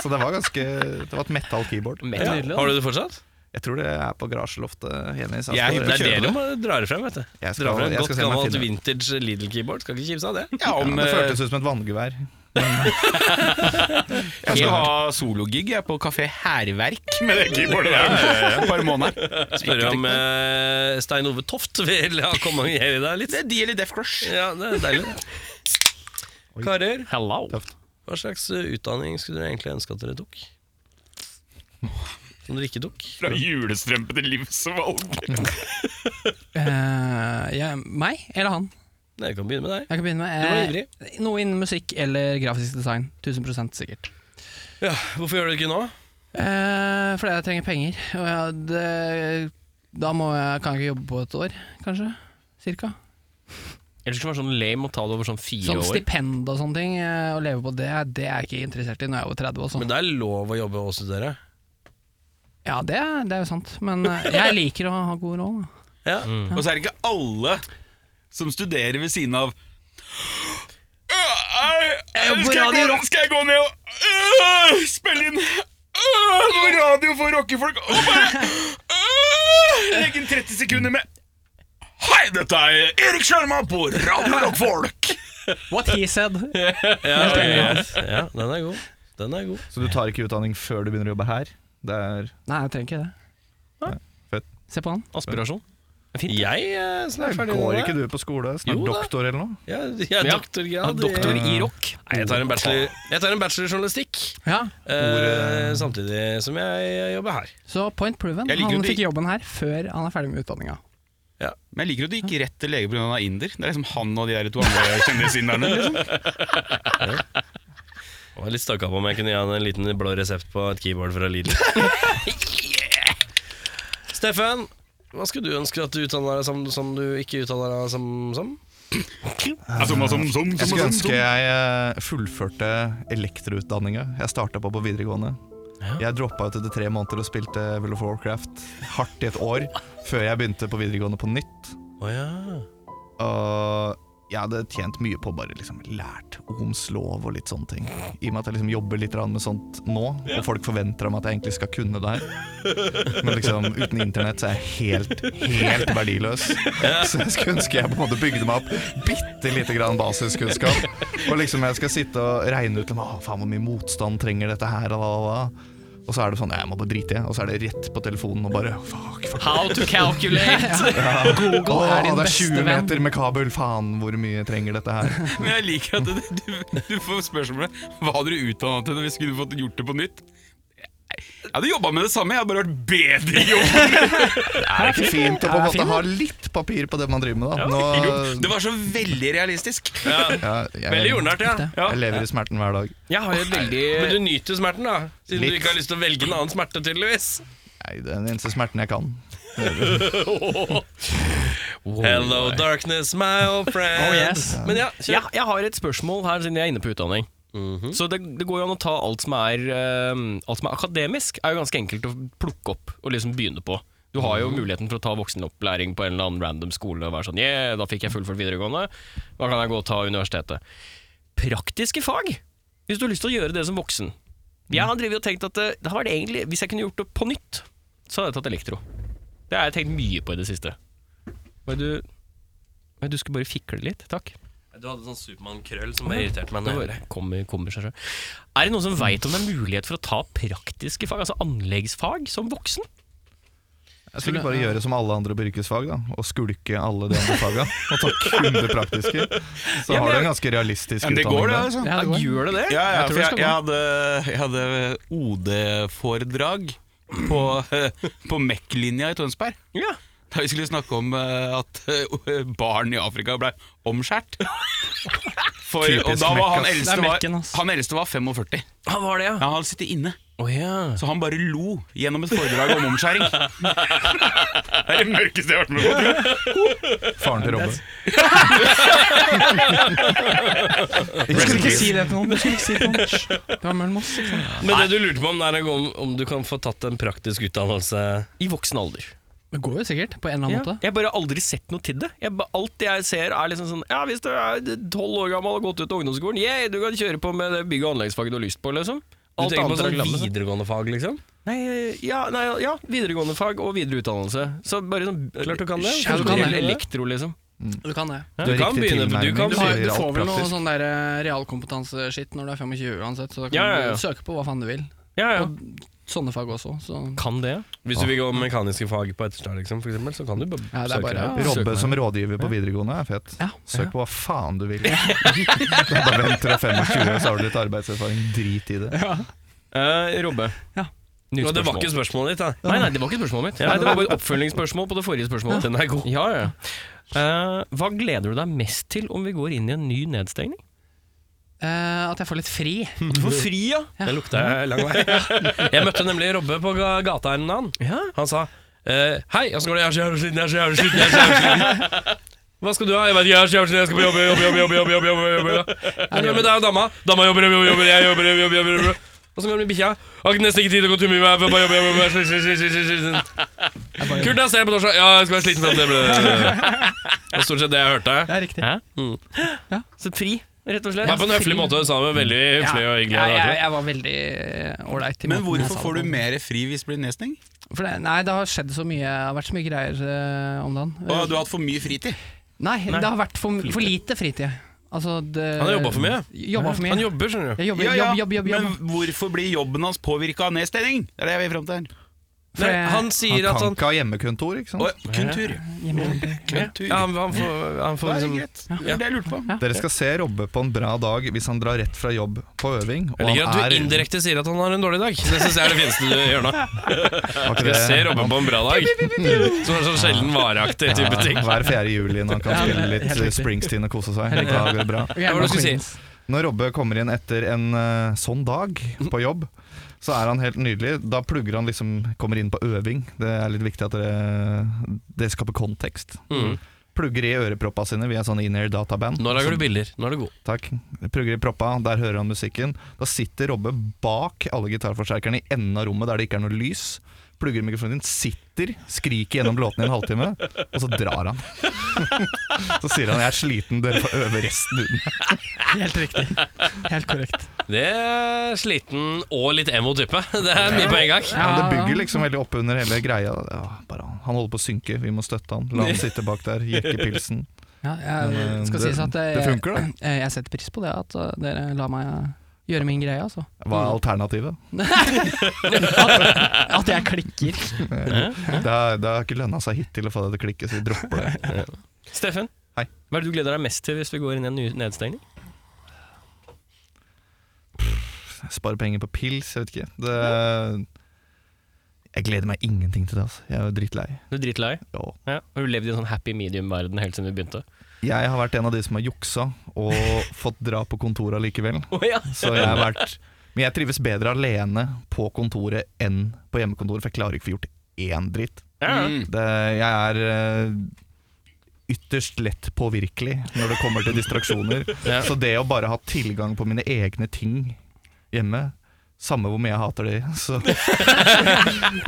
Så det var ganske Det var et metal keyboard. Har du det fortsatt? Jeg tror det er på garasjeloftet hjemme i Jeg, Sarpsborg. det er det du må dra det frem, vet du. Jeg skal- dra frem jeg Godt skal se om jeg gammelt finner det. vintage Lidl-keyboard. Skal ikke kimse av det. Ja, om, Ja, det eh, føltes ut som et vanngevær. jeg skal ha sologig jeg, på Kafé Hærverk med det keyboardet der. Et par måneder. Spørre om eh, Stein Ove Toft vil ha kommet og gjøre deg litt. Det er de eller Def Crush. Ja, det er deilig. Karer, Hello. hva slags eh, utdanning skulle dere egentlig ønske at dere tok? Som dere ikke tok? Fra julestrømpe til livsvalg. Eh, meg eller han? Nei, jeg kan begynne med deg. Jeg kan begynne med Du var eh, ivrig. Noe innen musikk eller grafisk design. 1000 sikkert. Ja, hvorfor gjør du det ikke nå? Eh, fordi jeg trenger penger. Og jeg, det, da må jeg, kan jeg ikke jobbe på et år, kanskje. Cirka. Ellers skulle det være sånn lame å ta det over sånn fire Sånn år. stipend og sånne ting, eh, å leve på det, det er jeg ikke interessert i når jeg er over 30. Også. Men det er lov å jobbe og studere. Ja, det, er- det er jo sant, men eh, jeg liker å ha god råd. da. Ja. Og så er det ikke alle som studerer ved siden av Øh, jobber på skal, jeg Eh, Radio gå, Rock. skal jeg gå ned og øh, spille inn øh, noe radio for rockefolk og bare øh, legge inn 30 sekunder med Hei, dette er Erik Sjarma på Radio Rockfolk! What he said. ja, den er god. Den er god. Så du tar ikke utdanning før du begynner å jobbe her? Det er Nei, jeg trenger ikke det. fett. Se på han. Aspirasjon. Jeg eh, snart ferdig Går med ikke det. du på skole? Snart Jo da. doktor eller noe? Ja, jeg er Ja. doktorgrad. Doktor i- i rock. Nei, jeg tar en bachelor Jeg tar en bachelor i journalistikk Ja, eh, samtidig som jeg jobber her. Så point proven. Jeg liker jo Han de- fikk jobben her før han er ferdig med utdanninga. Men jeg liker at du gikk rett til lege pga. inder. Det er liksom han og de der to andre kjendisinderne. Liksom. Jeg var litt stakka på om jeg kunne gi han en liten blå resept på et keyboard fra Lidl. Steffen, hva skulle du ønske at du utdanna deg som, som du ikke utdanna deg som? som? Som, som, som, som, Jeg skulle som, ønske som. jeg eh, fullførte elektroutdanninga jeg starta på på videregående. Jeg droppa ut etter tre måneder og spilte World of Warcraft hardt i et år før jeg begynte på videregående på nytt. Å ja. Og jeg hadde tjent mye på å bare liksom lært Ohms lov og litt sånne ting. I og med at jeg liksom jobber litt grann med sånt nå, og folk forventer av meg at jeg egentlig skal kunne det her. Men liksom uten internett så er jeg helt, helt verdiløs. Så jeg skulle ønske jeg på en måte bygde meg opp bitte lite grann basiskunnskap. Og liksom jeg skal sitte og regne ut liksom, «Å, faen hvor mye motstand trenger dette her, og hva, hva, hva. Og så er det sånn, jeg må bare drite i det. Og så er det rett på telefonen og bare fuck, fuck. How to calculate. Google er det din er beste 20 venn. meter med kabel, faen hvor mye trenger dette her? Men jeg liker at du, du, du får spørsmålet Hva hadde du utdannet til hvis du skulle fått gjort det på nytt? Jeg hadde jobba med det samme, jeg hadde bare vært bedre i jobb. Er det ikke fint å på en Ja, fin, måte ha litt papir på det man driver med, da? Nå, Det var så veldig realistisk. ja, Veldig jeg, jordnært, ja. jeg lever i smerten hver dag. Jeg har jo et veldig Men du nyter smerten, da? Siden du Litt. ikke har lyst til å velge en annen smerte, tydeligvis. Nei, det er den eneste smerten jeg kan. Hello darkness, my old friend. Oh, yes. Men ja, Eh, ja, kjør. Mhm. jeg har et spørsmål her, siden jeg er inne på utdanning. Så det, det går jo an å ta alt som er eh, Alt som er akademisk, er jo ganske enkelt å plukke opp og liksom begynne på. Du har jo muligheten for å ta voksenopplæring på en eller annen random skole og være sånn Yeah, da fikk jeg fullført videregående, da kan jeg gå og ta universitetet. Praktiske fag, hvis du har lyst til å gjøre det som voksen. Jeg har drevet og tenkt at det, det har vært egentlig, hvis jeg kunne gjort det på nytt, så hadde jeg tatt elektro. Det har jeg tenkt mye på i det siste. Men du, men du skulle bare fikle litt, takk. Du hadde sånn Supermann-krøll som bare irriterte meg. Det bare kommer, kommer seg selv. Er det noen som veit om det er mulighet for å ta praktiske fag, altså anleggsfag, som voksen? Jeg skulle bare gjøre som alle andre på yrkesfag, da. Og skulke alle de andre faga. Og (laughs) ta kun det praktiske. Så har du en ganske realistisk Men det går, utdanning. det, da. altså. Ja, det går. Gjør det det? Ja, ja, jeg tror for det jeg, skal jeg, gå. hadde, jeg hadde OD-foredrag på, på MEC-linja i Tønsberg. Ja. Da vi skulle snakke om eh, at eh, barn i Afrika ble omskåret. For- Og Typisk da var han Mac, ass. eldste Det er var, Mac-en, ass. han eldste var 45. Ah, Han var det, ja. Han hadde sittet inne, Å, ja. så han bare lo gjennom et foredrag om omskjæring. Det er det mørkeste jeg har vært med på. Faren til Robbe. Du skulle ikke si det til noen! Du skulle ikke si det til noen. Hysj. Det var liksom. mellom oss. ikke sant? Men det du lurte på om, er om, om du kan få tatt en praktisk utdannelse I voksen alder. Det går jo sikkert, på en eller Ja. annen måte. Jeg har bare aldri sett noe til det. Jeg, ba- alt jeg ser er liksom sånn Ja, hvis du er tolv år gammel og har gått ut av ungdomsskolen, yeah, du kan kjøre på med det bygg- og anleggsfaget du har lyst på, liksom. Du Alt tenker på annet er sånn reklame. videregående fag, liksom? Nei, ja, nei, ja, videregående fag og videre utdannelse. Så bare sånn Klart du kan det. Ja, du kan det. Elektro, liksom. Du kan det. Du kan begynne, du kan Du, Ja, har, det du får vel noe praktisk. sånn der eh, realkompetanseskitt når du er 25 uansett, så da kan Ja, ja, ja. du søke på hva faen du vil. Ja, ja. Sånne fag også. Så. Kan det, ja. Hvis du vil gå mekaniske fag på etterstad, liksom, for eksempel, så kan du bare Ja, det er søke bare- deg opp. Robbe som rådgiver på videregående er fett. Ja. Søk på hva faen du vil. (laughs) Da bare venter du 25, så har du litt arbeidserfaring. Drit i det. Eh, Robbe. Ja. Nytt Og det var spørsmål. ikke spørsmålet ditt, da. Nei, nei, det var ikke spørsmålet mitt. Nei, det var bare et oppfølgingsspørsmål på det forrige spørsmålet. Den er god. Ja, ja. Eh, hva gleder du deg mest til om vi går inn i en ny nedstengning? Eh, at jeg får litt fri. For fri, ja! Det lukta jeg lang vei. (laughs) Jeg møtte nemlig Robbe på ga- gata en annen. Ja. Han sa eh, Hei, åssen går det? Jeg er så jævlig sliten, jeg er så jævlig sliten. Jeg er så jævlig sliten. Hva skal du ha? Jeg vet ikke, jeg er så jævlig sliten, jeg skal på jobb, jobbe, jobbe, jobbe, jobbe, jobbe, jobbe, jobbe, jobbe. Hvordan går det med deg og dama? Dama jobber, jobber, jobber, jeg jobber, jobber, jobber, jobber, jobber. Hvordan går det med bikkja? Har ikke nesten ikke tid til å gå tur med meg, jeg får bare jobbe, jobbe, jobbe, sliten, sliten, sliten, sliten, sliten. Kult, jeg ser deg på torsdag. Ja, jeg skal være sliten frem til det ble... Det var stort sett det jeg hørte. Det er riktig. Mm. Så fri, rett og slett. Men på en høflig måte, du sa det veldig høflig og hyggelig. Ja, jeg, da, jeg var veldig eh, ålreit. i Men måten jeg hvorfor sa får det du på. mer fri hvis det blir nedstengt? For det, nei, det har skjedd så mye. Det har vært så mye greier eh, om dagen. Å, du har hatt for mye fritid. Nei, det har vært for, for lite fritid. Altså, det, Han har jobbet for mye. Jobba for mye. Han jobber, skjønner du. Jeg jobber, Ja, ja, jobb, jobb, jobb, jobb. Men hvorfor blir jobben hans påvirka av nedstenging? Det er det jeg vil fram til her. For Nei, jeg- han Han sier at kan han... ikke ha hjemmekontor, ikke sant? Å, kun tur. Kun tur. Ja, han, han får, han får det er liksom... greit. Det var det jeg lurte på. Dere skal se Robbe på en bra dag hvis han drar rett fra jobb på øving. Jeg liker at du indirekte sier at han har en dårlig dag. Det synes jeg er det fineste du (laughs) gjør nå. Var ikke Jeg det- ser Robben på en bra dag. Som er sånn sjelden vareaktig type ting. Ja, hver 4. juli når han kan spille litt Springsteen og kose seg. Da går det bra. Ok, Hva var det du skulle Queens. Når Robbe kommer inn etter en eh, sånn dag på jobb, så er han helt nydelig. Da plugger han liksom Kommer inn på øving. Det er litt viktig at dere, det skaper kontekst. Mm. Plugger i øreproppa sine via sånn in-air databand. Nå lager du bilder. Nå er du god. Takk. Plugger i proppa, der hører han musikken. Da sitter Robbe bak alle gitarforsterkerne i enden av rommet der det ikke er noe lys. Plugger i mikrofonen din, sitter, skriker gjennom låten i en halvtime, og så drar han. (laughs) så sier han 'jeg er sliten, dere får øve resten uten'. Helt riktig. Helt korrekt. Det er sliten og litt emo-type. (laughs) Det er mye på en gang. Men det bygger liksom veldig opp under hele greia. Ja, bare, han- han holder på å synke, vi må støtte han. La han sitte bak der, jekke pilsen. Ja, Men, eh, jeg skal det- sies at jeg, det funker, (clears throat) da. Jeg, jeg setter pris på det, at eh, dere lar meg gjøre min greie, altså. Hva er (laughs) alternativet? At, at jeg klikker. (laughs) Det har, det har ikke lønna seg hittil å få det til å klikke, så vi dropper det. Steffen, Hei. hva er det du gleder deg mest til hvis vi går inn i en ny nedstengning? Spare penger på pils, jeg vet ikke. Det, jeg gleder meg ingenting til det, altså. Jeg er drittlei. Du er dritlei. Ja. Ja. Har du levd i en sånn happy medium-verden helt siden vi begynte? Jeg har vært en av de som har juksa og fått dra på kontoret likevel. Oh, ja. Så jeg har vært Men jeg trives bedre alene på kontoret enn på hjemmekontoret, for jeg klarer ikke å få gjort én dritt. Mm. Det, jeg er eh, ytterst lett påvirkelig når det kommer til distraksjoner. (laughs) Så det å bare ha tilgang på mine egne ting hjemme samme hvor mye jeg hater de. (laughs) Så,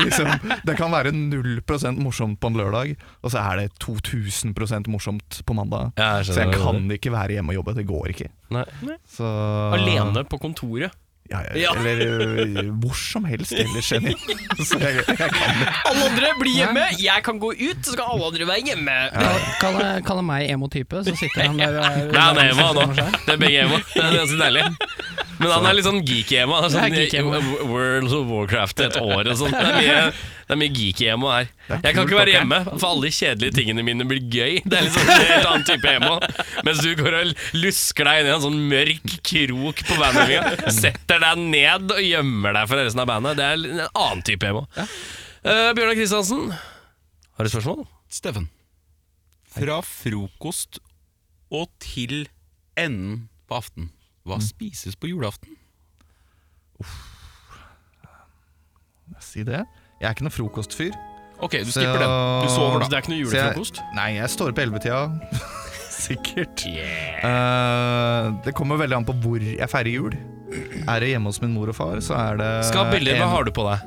liksom, det kan være 0 morsomt på en lørdag, og så er det 2000 morsomt på mandag. Ja, jeg Så jeg skjønner. kan ikke være hjemme og jobbe. Det går ikke. Nei. Så, Alene på kontoret. Ja, Ja. ja. Eller ø, hvor som helst ellers (laughs) enn hjemme. Så jeg, jeg kan det. Alle andre blir hjemme, jeg kan gå ut, så skal alle andre være hjemme. Kalle, kalle meg emo-type, så sitter han der og er- Nei, han er emo, han òg. Det er begge emo. Det er ganske deilig. Men han er litt sånn geek-emo. han er Det er Sånn, geek-emo. World of Warcraft et år og sånn. Det er mye, det er mye geek-emo her. Jeg kan ikke være hjemme, for alle de kjedelige tingene mine blir gøy. Det er litt sånn en helt annen type emo. Mens du går og lusker deg inn i en sånn mørk krok på bandøvinga, setter deg ned og gjemmer deg for resten av bandet. Det er en annen type emo. Eh, Bjørnar Kristiansen, har du spørsmål? Steffen. Fra frokost og til enden på aften. Hva spises på julaften? Si det. Jeg er ikke noen frokostfyr. Ok, du Så- skipper den. Du sover, Så det da. er ikke noe Så jeg- julefrokost? Nei, jeg står opp på 11-tida. (laughs) Sikkert. Eh, det kommer veldig an på hvor jeg feirer jul. Er det hjemme hos min mor og far, så er det Skal ha bilder. Hva en- har du på deg?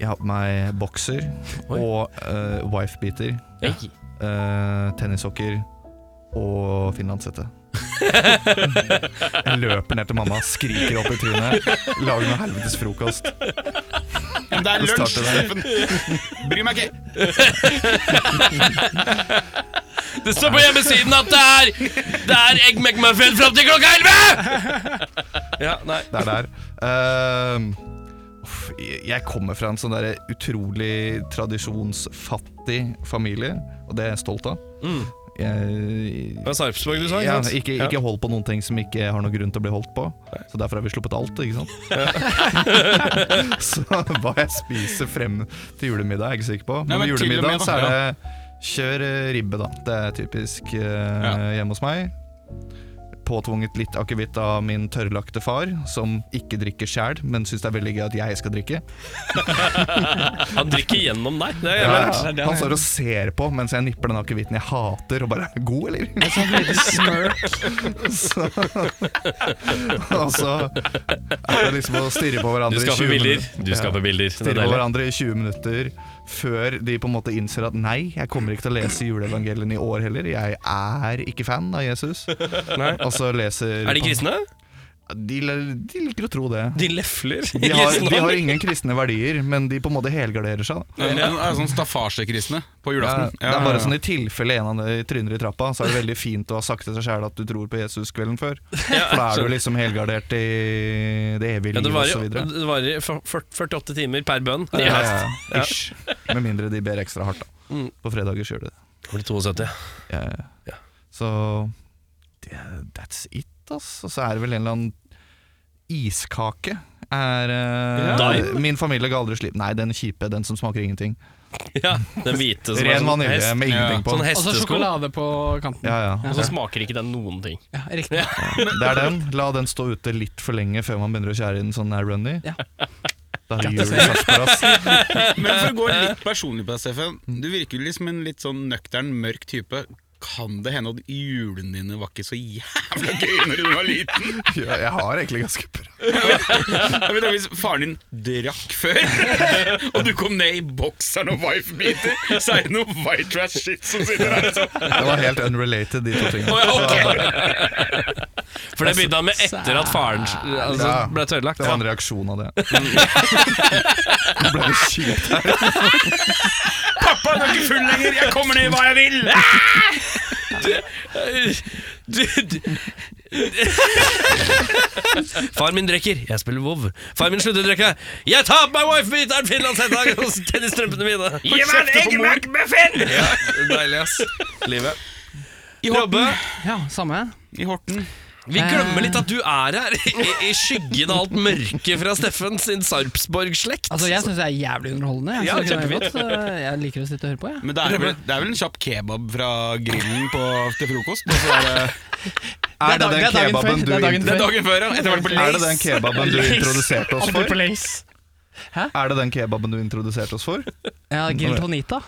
Jeg har på meg bokser og uh, wifebeater. Ja. eh, tennissokker og finlandshette. (laughs) jeg løper ned til mamma, skriker opp i trynet, lager noe helvetes frokost. Men det er Jeg lunsj, starter Steffen! Bry meg ikke. Det står på hjemmesiden at det er Det er Egg McMuffin fram til klokka 11! Ja, nei Det er der. Ehm, uff, jeg kommer fra en sånn der utrolig tradisjonsfattig familie, og det er jeg stolt av. Jeg, Det var Sarpsborg du sa, ja, ikke sant? ikke, ikke hold på noen ting som ikke har noen grunn til å bli holdt på. Så derfor har vi sluppet alt, ikke sant? (laughs) så hva jeg spiser frem til julemiddag, er jeg ikke sikker på. Men, Nei, men til med og med, julemiddag da. så er det kjør eh, ribbe, da. Det er typisk eh, hjemme hos meg. påtvunget litt akevitt av min tørrlagte far, som ikke drikker sjæl, men syns det er veldig gøy at jeg skal drikke. Han drikker gjennom deg. Det er Ja, jævlig. han står og ser på mens jeg nipper den akevitten jeg hater, og bare 'God, eller?' Et sånn sånt lite smirk. Så, og (laughs) så altså, er det liksom å stirre på Du hverandre i 20 skaper bilder. minutter. Du skaper bilder. Det er Stirre på deilig. hverandre i 20 minutter før de på en måte innser at nei, jeg kommer ikke til å lese juleevangeliene i år heller. Jeg er ikke fan av Jesus. Og så leser Er de kristne? De, de liker å tro det. De lefler. De har, de har ingen kristne verdier, men de på en måte helgarderer seg. da. Det eh, er sånn staffasjekristne på Ja, julaften. det er bare sånn I tilfelle en av de tryner i trappa, så er det veldig fint å ha sagt til seg sjæl at du tror på Jesus kvelden før. For da er du liksom helgardert i det ja, evige det liv varer osv. det varer for- for- 48 timer per bønn. Ja, ja, ja. Ish. Med mindre de ber ekstra hardt, da. På fredager så gjør de det. Det blir 72. Ja, ja. Mm. Ja. Så det, that's it, ass. Og så er det vel en eller annen iskake. Er, eh, Dime? min familie ga aldri slipp. Nei, den kjipe, den som smaker ingenting. Ja, den hvite som er Ren sånn vanilje hest. med ingenting Ja. på. Sånn Og så hestesko. sjokolade på kanten. Ja, ja. Og så smaker ikke den noen ting. Ja, riktig. Det er den. La den stå ute litt for lenge før man begynner å skjære i den sånn her runny. Ja. Da er det jul i Sarpsborg, ass. Men for å gå Eh, litt personlig på deg, Steffen. Mm. Du virker jo liksom en litt sånn nøktern, mørk type. Kan det hende at julene dine var ikke så jævla gøy når du var liten? Ja, Jeg har egentlig ganske bra Jeg vet, da, hvis faren din drakk før, (laughs) og du kom ned i bokseren og wife-biter, så er det noe white trash shit som sitter der. altså. Det var helt unrelated, de to tingene. (laughs) For det begynte han med etter at faren altså, Ja. ble tørrlagt. Det var en reaksjon av det. Nå ble det kjipt her. Pappa du er ikke full lenger, jeg kommer ned hva jeg vil! Du, du. Far min drikker, jeg spiller WoW. Far min slutter å drikke. Jeg tar på meg wife-beateren, finlandshetta og tennisstrømpene mine. Gi meg en egg McMuffin! Deilig, ass. Livet. Robbe, Ja, samme. I Horten. vi glemmer litt at du er her, i, i skyggen av alt mørket fra Steffen sin Sarpsborg-slekt. Altså, jeg syns det er jævlig underholdende. Jeg, Ja, synes det er godt, så jeg liker å sitte og høre på, jeg. Men det er, vel, det er vel en kjapp kebab fra grillen på, til frokost? og så er det- Er det dag- den det er dagen kebaben før, du det er dagen intro- (laughs) Det er eh, dagen før, ja. Etter hvert på Er det Lays. den kebaben du introduserte oss for? Hæ? Er det den kebaben du introduserte oss for? Ja, Giltonita.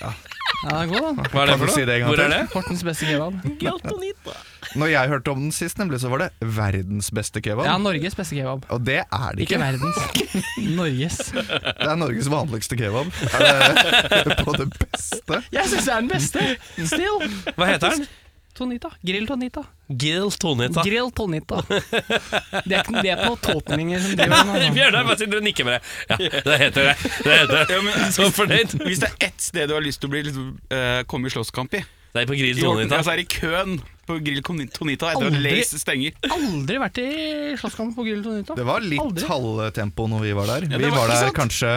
Ja, det er god, da. Hva er det for Kan du si noe? det en gang Hvor til? er det? Hortens beste kebab. Når jeg hørte om den sist, nemlig, så var det verdens beste kebab. Ja, Norges beste kebab. Og det er det Ikke ikke. verdens. Norges. Det er Norges vanligste kebab. Er det (laughs) på det beste? Jeg syns det er den beste! Still. Hva heter den? Tonita. Grill Tonita. Gil Tonita. Grill Tonita. Det er ikke det er på totninger som driver med det. Bjørnar bare sitter og nikker med det. Ja, det heter det. det, heter det. Ja, men, Så fornøyd. hvis det er ett sted du har lyst til å bli, liksom, eh, komme i slåsskamp i, Det er på Grill i Horten, Tonita. ja, så er det i køen på Grill Con- Tonita etter at Aldri. Lays stenger. Aldri vært i slåsskamp på Grill Tonita. Det var litt Aldri. halvtempo når vi var der. det Vi var ikke var der sant. kanskje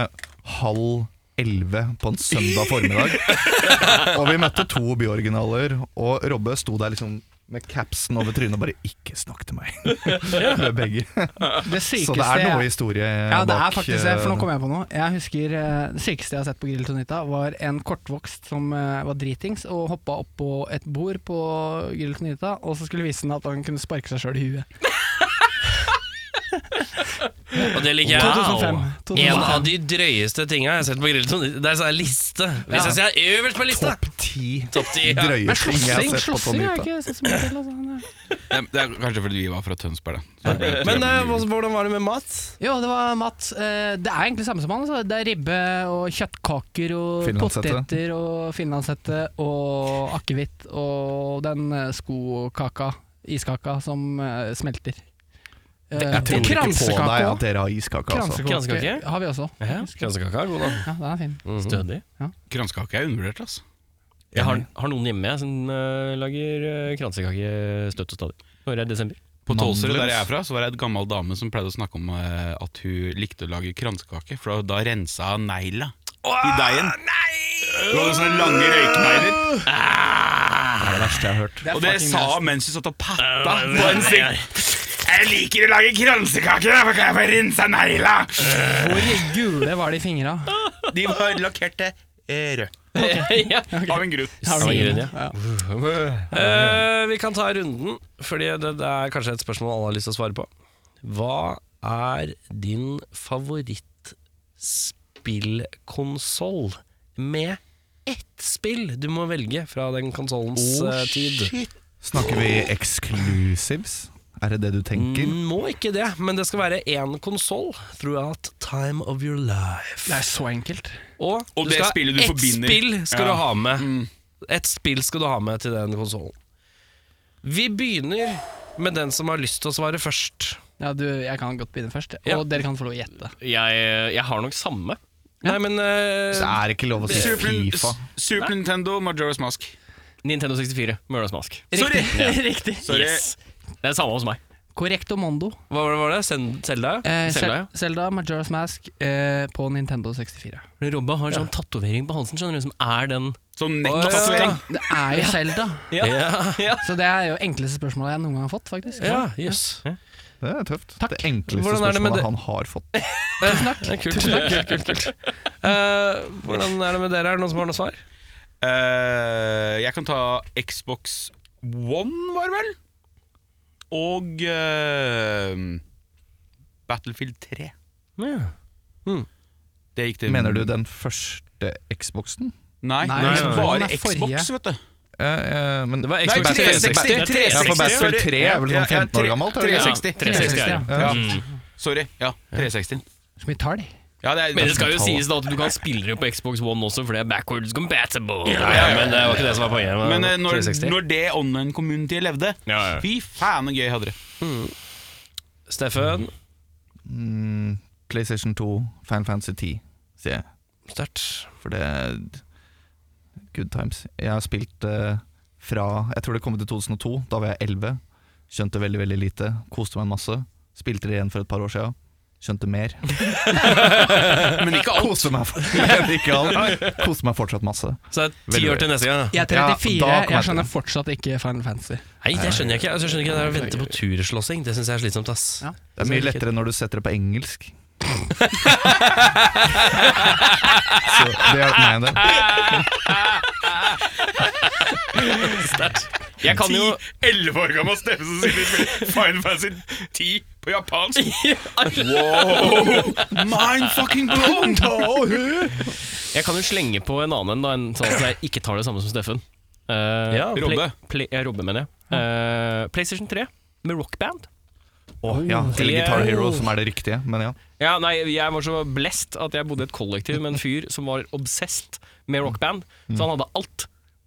halv elleve på en søndag formiddag. (laughs) Og vi møtte to bioriginaler, og Robbe sto der liksom med capsen over trynet og bare 'ikke snakk til meg'. Med (laughs) begge. Det Så sykeste det er noe jeg- historie ja, det er bak. faktisk det, for nå eh, kom jeg på noe. Jeg husker eh, Det sykeste jeg har sett på Grill Tonita, var en kortvokst som eh, var dritings og hoppa oppå et bord på Grill Tonita, og så skulle vise den at han kunne sparke seg sjøl i huet. Og det liker jeg. 2005. Wow. En 2005. av de drøyeste tinga jeg har sett på Grill Tonita, det er sånn her liste. Hvis jeg ser øverst på lista eh, Topp ti Topp ti. Ja. drøye Men ting jeg har sett slåssing på slåssing har jeg Tonita. ikke sett så mye til. Altså. Nei. Det er, det er kanskje fordi vi var fra Tønsberg, da. Så det ble- Men eh, hva- hvordan var det med mat? Jo, det var mat. Eh, Det er egentlig samme som han. Altså. Det er ribbe og kjøttkaker og Finlandshette. poteter og finlandshette og akevitt og den eh, skokaka, iskaka, som eh, smelter. Eh, Jeg tror ikke på kransekake deg også. at dere har iskake, altså. Kransekake Kransekake? har vi også. Ja, Kransekaka er god, da. Ja, den er fin. Mm. Mm. Stødig. Kransekake er undervurdert, altså. Jeg har, har noen hjemme jeg som eh, lager uh, kransekake støtt og stadig. Når det er desember. På Mandler. Tåserud, der jeg er fra, så var det en gammel dame som pleide å snakke om eh, at hun likte å lage kransekake, for da rensa hun negla i deigen. Hun hadde sånne lange røyknegler. Det er det verste jeg har hørt. Og det sa hun mens hun satt og patta på en sikk. Jeg liker å lage kransekake, for kan jeg få rensa negla? Hvor gule var eh, de fingra? De var lakkerte rød. (laughs) ja. Av en grunn. Har Ja, du noen- grunn, ja. ja. Eh, vi kan ta runden, Fordi det, det er kanskje et spørsmål alle har lyst til å svare på. Hva er din favorittspillkonsoll med ett spill du må velge fra den konsollens eh, tid? Snakker vi exclusives? Er det det du tenker? Mm. Må ikke det, men det skal være én konsoll throughout time of your life. Det er så enkelt. Og, Og du det skal- spillet du ett forbinder. spill skal Ja. du ha med. Et spill skal du ha med til den konsollen. Vi begynner med den som har lyst til å svare først. Ja, du, jeg kan godt begynne først, og Ja. dere kan få lov å gjette. Jeg, eh, jeg har nok samme. Nei, men eh, Det er ikke lov å si Super, Fifa. Super Nintendo, Majora's Mask. Nintendo 64, Mølas Mask. Sorry! (laughs) Riktig. Sorry. Yes. Det er samme hos meg. Correcto Mondo. Hva var det? Var det? Send- Zelda? Eh, Zelda, Zelda, Zelda Majora's Mask eh, på Nintendo 64. Robba har en sånn tatovering på halsen skjønner du, som er den. Sånn Tatovering. nekktatovering. Det er jo (laughs) Zelda, Ja, ja. så det er jo enkleste spørsmålet jeg noen gang har fått, faktisk. ja jøss. Det er tøft. Det enkleste Hvordan er det med spørsmålet det- han har fått. (laughs) Det er Kult, kult, kult, kult. (laughs) Eh, hvordan er det med dere? Er det noen som har noe svar? Eh, jeg kan ta Xbox One, var det vel? Og eh, Battlefield 3. Det gikk til Mener du den første Xboxen? Nei, det Nei, nei, er nei. bare Den er forrige. Xbox, vet du. Eh, eh, men det var Nei, 360. Ja, for 360. Battlefield Sorry. 3 er vel Ja, ja, sånn 15 år gammelt? er det ikke? 360. 360, ja. Ja. Mm. Sorry. Ja, 360. Så mye tall. Ja, det er, Men det skal jo sies da at du kan spille det på Xbox One også, for det er backwards compatible. Ja, Men det var ikke det som var poenget. Men eh, når, når det online-communityet levde, Ja, ja. fy faen så gøy hadde det. Steffen? Mm, PlayStation 2, Final Fantasy 10, sier jeg. Sterkt. For det er Good times. Jeg har spilt eh, fra Jeg tror det kom til 2002. Da var jeg 11. Skjønte veldig veldig lite. Koste meg masse. Spilte det igjen for et par år siden. Skjønte mer. Men ikke alt. Koste meg, for, (laughs) Men ikke alt. Koste meg fortsatt masse. Så det er ti Veldig år til neste gang. da. Jeg er Ja, da 34, kommer jeg jeg til skjønner fortsatt ikke Final Fantasy. Nei, det skjønner jeg ikke. Altså, Jeg skjønner ikke det der å vente på turslåssing. Det syns jeg er slitsomt, ass. Ja. Det er mye lettere når du setter det på engelsk. Så det hjalp meg en del. Jeg kan jo 11 år gammel Steffen som sitter og spiller Final Fantasy 10 på japansk. Mind fucking blown! Jeg kan jo slenge på en annen da, enn sånn at jeg ikke tar det samme som Steffen. Uh, Ja. Robbe. Play, ja, Robbe, mener jeg. Eh, PlayStation 3 med rockband. Åh, ja, eller Guitar Hero, som er det riktige. Men ja. Ja, nei, jeg var så blest at jeg bodde i et kollektiv med en fyr som var obsessed med rockband. Så han hadde alt.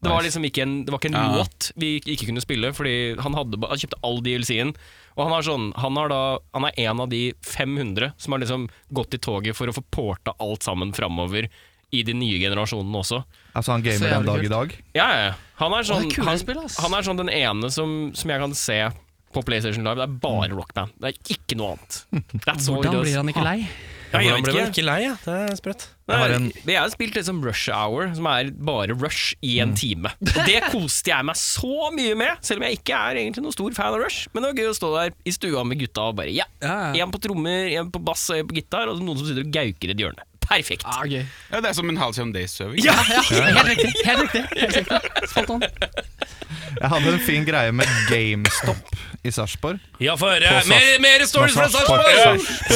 Det var liksom ikke en, det var ikke en Ja. låt vi ikke- ikke kunne spille, fordi han, hadde, ba- han kjøpte all DLC-en. Og han, har sånn, han, har da, han er en av de 500 som har liksom gått i toget for å få porta alt sammen framover i de nye generasjonene også. Altså, han Så gamer jævlig en dag kult. i dag. Ja, ja. ja. Han er sånn, Å, det er kule han, spill, ass. han er sånn den ene som, som jeg kan se på PlayStation Live. Det er bare rockband. Det er ikke noe annet. That's all Mm. Hvordan it does. blir han ikke lei? Ja, jeg Hvordan vet ble man ikke. ikke lei, ja? Det er sprøtt. Jeg har, har en- jeg har spilt liksom Rush Hour, som er bare Rush i en time. Og det koste jeg meg så mye med, selv om jeg ikke er egentlig noen stor fan av Rush. Men det var gøy å stå der i stua med gutta og bare ja. Ja, ja. En på trommer, en på bass og en på gitar, og noen som sitter og gauker i et hjørne. Perfekt. Ah, gøy. Ja, det er som en Halcyon Days-server. Ja, (laughs) ja, helt riktig. Helt riktig. Helt riktig. Spot on. Jeg hadde en fin greie med GameStop i Sarpsborg. Ja, få høre. På Sarp- Mer- Mer stories fra På Sarpsborg.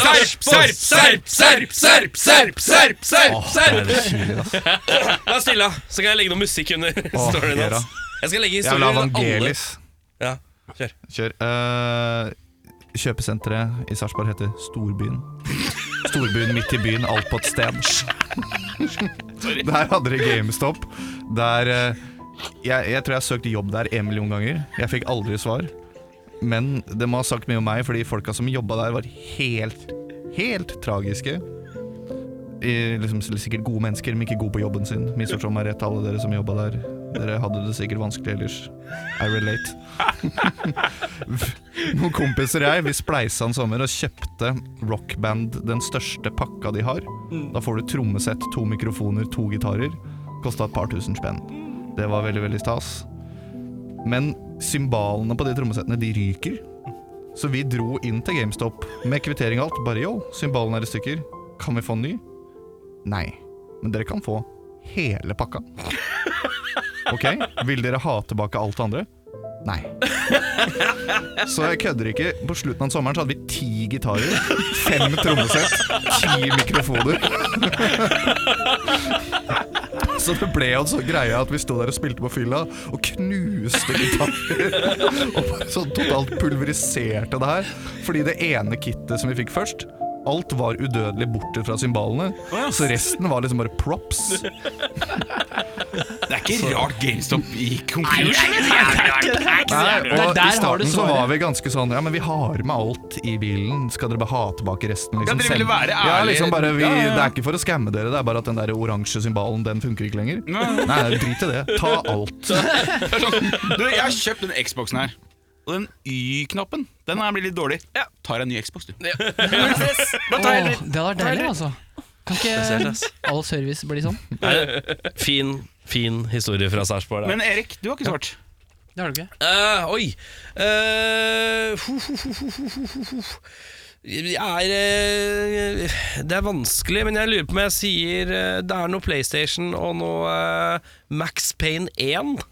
Sarpsborg! Serp, serp, serp, serp, serp, serp, serp, serp! Det er kjipt, ass. Vær stille, så kan jeg legge noe musikk under storyen gjør hans. det. Jeg skal legge Jeg vil ha historier under alle. Vangelis. Ja, kjør. Kjør. Eh, kjøpesenteret i Sarpsborg heter Storbyen. Storbyen midt i byen, alt på et sted. Der hadde de GameStop. Der eh, jeg, jeg tror jeg har søkt jobb der en million ganger. Jeg fikk aldri svar. Men det må ha sagt mye om meg, fordi folka som jobba der, var helt, helt tragiske. I, liksom, sikkert gode mennesker, men ikke gode på jobben sin. Misforstå meg rett, alle dere som jobba der. Dere hadde det sikkert vanskelig ellers. I relate. (laughs) Noen kompiser og jeg Vi spleisa en sommer og kjøpte Rockband den største pakka de har. Da får du trommesett, to mikrofoner, to gitarer. Kosta et par tusen spenn. Det var veldig, veldig stas. Men cymbalene på de trommesettene, de ryker. Så vi dro inn til GameStop med kvittering og alt. Bare yo, cymbalene er i stykker. Kan vi få en ny? Nei. Men dere kan få hele pakka. Ok, vil dere ha tilbake alt det andre? Nei. Så jeg kødder ikke. På slutten av sommeren så hadde vi ti gitarer, fem trommesett, ti mikrofoner. Så det ble jo en sånn greie at vi sto der og spilte på fylla og knuste gitarer. Og bare sånn totalt pulveriserte det her. Fordi det ene kittet som vi fikk først, alt var udødelig borte fra symbalene. Så resten var liksom bare props. Det er ikke rart GameStop gikk konkurs. Nei, og der I har du starten så svaret. var vi ganske sånn Ja, men vi har med alt i bilen. Skal dere bare ha tilbake resten? Liksom, dere ville send- være ja, ærlige. liksom bare, vi, Ja, ja, ja. Det er ikke for å skamme dere, det er bare at den der oransje symbalen Den funker ikke lenger. Nei, drit i det. Ta alt. Du, jeg har kjøpt den Xboxen her. Og den Y-knappen Den er blitt litt dårlig. Tar jeg en ny Xbox, du. Åh, det hadde vært deilig, altså. Kan ikke all service bli sånn? Fin, fin historie fra Sarpsborg. der. Men Erik, du har ikke svart. Det har du ikke. Eh, oi Eh, hu, hu, hu, hu, hu, hu, hu, hu. Jeg er eh, Det er vanskelig, men jeg lurer på om jeg sier eh, Det er noe PlayStation og noe eh, Max Payne 1.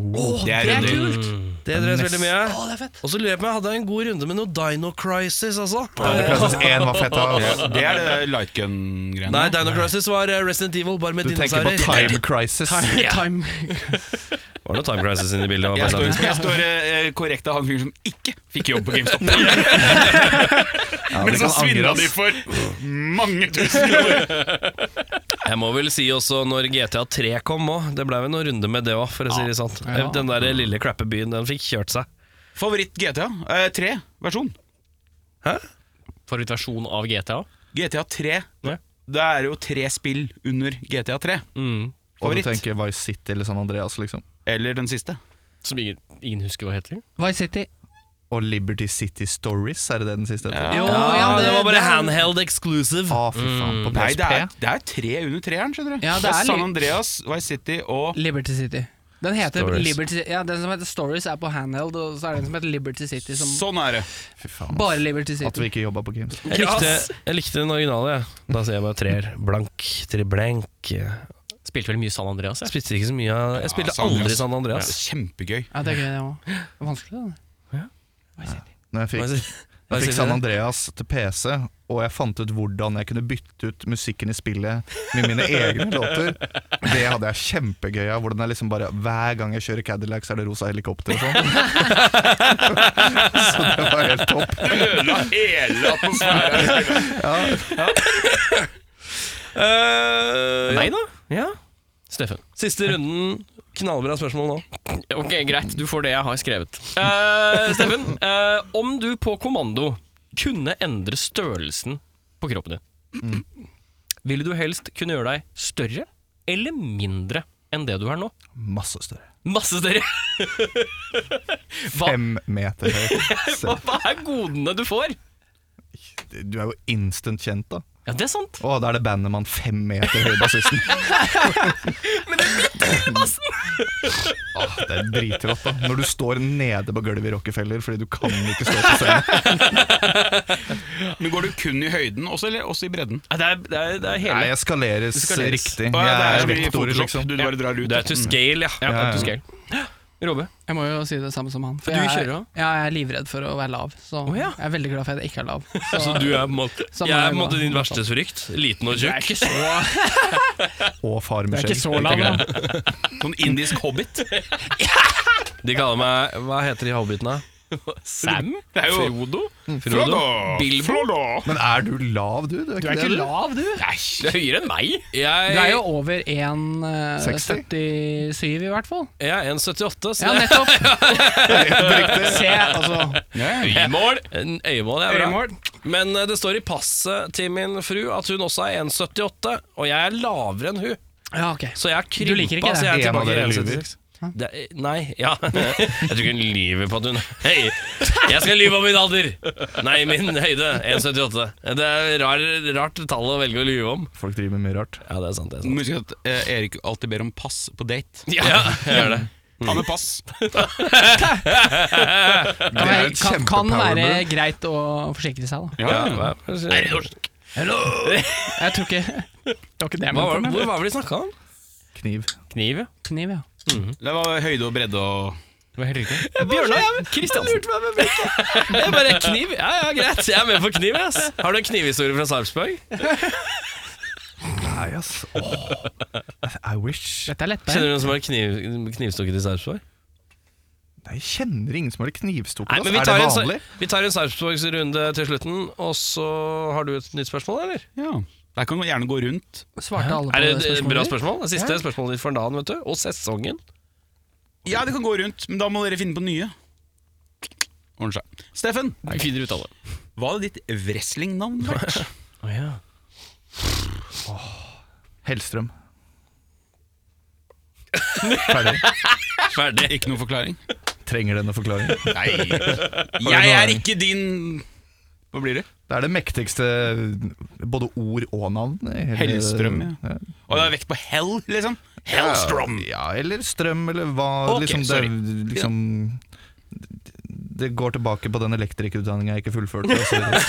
det er Det er ryddig. kult! Det drev veldig mye. Å, det er fett. Og så lurer jeg på om jeg hadde en god runde med noe Dino Crisis også. Eh, Jeg synes én var fett. Da. Det er det lightgun-greiene. Nei, Dino Crisis var eh, Resident Evil, bare med Du tenker på dinosaurer. Time Crisis. Time. Var det noe Time Crisis inne i bildet? Jeg står, jeg står eh, korrekt av han fyren som ikke fikk jobb på (laughs) GameStop. Ja, Men det så kan svinna angres. de for mange tusen kroner. Jeg må vel si også når GTA 3 kom òg. Det blei vel noen runde med det òg, for å si det sånn. Ja. Den der lille crappebyen, den fikk kjørt seg. Favoritt-GTA? Eh, 3-versjon. Favorittversjon av GTA. GTA 3. Ja. Det er jo tre spill under GTA 3. Og du Favoritt. tenker Vice City eller San Andreas, liksom. Eller den siste. Som ingen, ingen husker hva heter. Vice City. Og Liberty City Stories, er det det den siste? heter? Jo, Ja, Ah, ja, det, var bare det- handheld exclusive. Å, fy faen. Mm. På Nei, det er, PSP. det er tre under treeren, skjønner du. Ja, det det er er San litt- Andreas, Vice City og Liberty City. Den heter Stories. Liberty Ja, den som heter Stories er på handheld, og så er det den som heter Liberty City som Sånn er det. Fy faen. Bare Liberty At City. vi ikke jobba på Games. Jeg likte, jeg likte den originale, jeg. Da sier jeg bare treer. Blank, tre blank. Jeg Spilte vel mye San Andreas. Jeg. spilte ikke så mye av Jeg spilte San aldri Andreas. San Andreas. Kjempegøy. Ja, det er gøy, det òg. Det er vanskelig, da. Når jeg fikk Hva Jeg sier fikk dere? San Andreas til PC, og jeg fant ut hvordan jeg kunne bytte ut musikken i spillet med mine egne låter. Det hadde jeg kjempegøy av. Hvordan jeg liksom bare Hver gang jeg kjører Cadillac, så er det rosa helikopter og sånn. (laughs) så det var helt topp. Ødela hele atmosfæren. Eh, ja. Nei da. Ja. Steffen. Siste runden. Knallbra spørsmål nå. Ok, Greit, du får det jeg har skrevet. (laughs) Eh, Steffen, eh, om du på kommando kunne endre størrelsen på kroppen din, ville du helst kunne gjøre deg større eller mindre enn det du er nå? Masse større. Masse større! (laughs) Hva, Fem meter høy. (laughs) hva, Så hva er godene du får? Du er jo instant kjent, da. Ja, det er sant. Å, da er det Bandemann fem meter høy, (laughs) bassisten. Åh, det er dritrått, da. Når du står nede på gulvet i Rockefeller fordi du kan ikke stå på scenen. (laughs) Men går du kun i høyden også, eller også i bredden? Ja, Det er, det er, det er hele Nei, jeg skaleres, skaleres. riktig. Å, ja, Jeg er det er som i rektor, Photoshop. liksom. Du bare drar ut. Det er to scale, ja. ja, ja. to scale. Robbe. Jeg må jo si det samme som han. Du For jeg, kjører er, også? ja, jeg er livredd for å være lav, så Å, ja. jeg er veldig glad for at jeg ikke er lav. Så, (laughs) Så du er på en måte, Samme jeg er på her, en måte da. din verste frykt? Liten og tjukk? ikke så Og far med skjegg. Sånn indisk (laughs) hobbit. De kaller meg Hva heter de hobbitene? Sam? Det er jo Mm, Frodo? Frodo? Bilbo. Men er du lav, du? Du er, ikke, det, lav, du! Du er høyere enn meg. Jeg, Du er jeg jo over 1,77 i hvert (laughs) fall. er 1,78, så Ja, jeg- nettopp! (laughs) Se, altså. Øyemål! Øyemål er bra. Øyemål. Men eh, det står i passet til min fru at hun også er 1,78, og jeg er lavere enn hun. Ja, ok. Så jeg har Du liker ikke krympa, så det? jeg er En av tilbake i dere 1,76. Det er- Nei, ja (laughs) Jeg tror ikke hun lyver på at hun Hei, jeg skal lyve om min alder! Nei, min høyde. 1,78. Det er rar, rart tall å velge å lyve om. Folk driver med mye rart. Ja, det er sant. det er sant Husk at eh, Erik alltid ber om pass på date. Ja, jeg gjør det. Ta med pass. Det er et Kan, kan, kan kjempepower være move. greit å forsikre seg, da. Ja, hva- Jeg tror ikke (laughs) Det var ikke det jeg hva var, mente. hvor var det de snakka om? Kniv. Kniv, ja. Kniv, ja. Det var høyde og bredde og Det var helt riktig. Bjørnar Kristiansen. Jeg bare kniv. Ja, ja, greit. Jeg er med på kniv. ass Har du en knivhistorie fra Sarpsborg? Nei, ass. Åh, I wish. Dette er lettere. Kjenner du noen som har kniv, knivstukket i Sarpsborg? Nei, jeg kjenner ingen som har knivstukket Nei, oss. men vi Er det tar, en, vanlig? Sar- vi tar en Sarpsborgsrunde til slutten, og så har du et nytt spørsmål, eller? Ja. Der kan du gjerne gå rundt. Svarte alle på Er det et det eh, spørsmålet? bra spørsmål? Det siste spørsmålet ditt for dagen, vet du. Og sesongen. Ja, det kan gå rundt, men da må dere finne på nye. Ordner seg. Steffen, Vi finner ut av det. hva hadde ditt wrestlingnavn vært? Å ja. Hellstrøm. Ferdig. Ikke noe forklaring? Trenger denne forklaringen. (laughs) Nei. Jeg er ikke din Hva blir det? Det er det mektigste både ord og navn. i hele- Hellstrøm, eh, ja. Og det er vekt på hell, liksom? Hellstrom! Ja, eller strøm, eller hva Ok, liksom, sorry. det, liksom, det går tilbake på den elektrikerutdanninga jeg ikke fullførte. og Så, videre.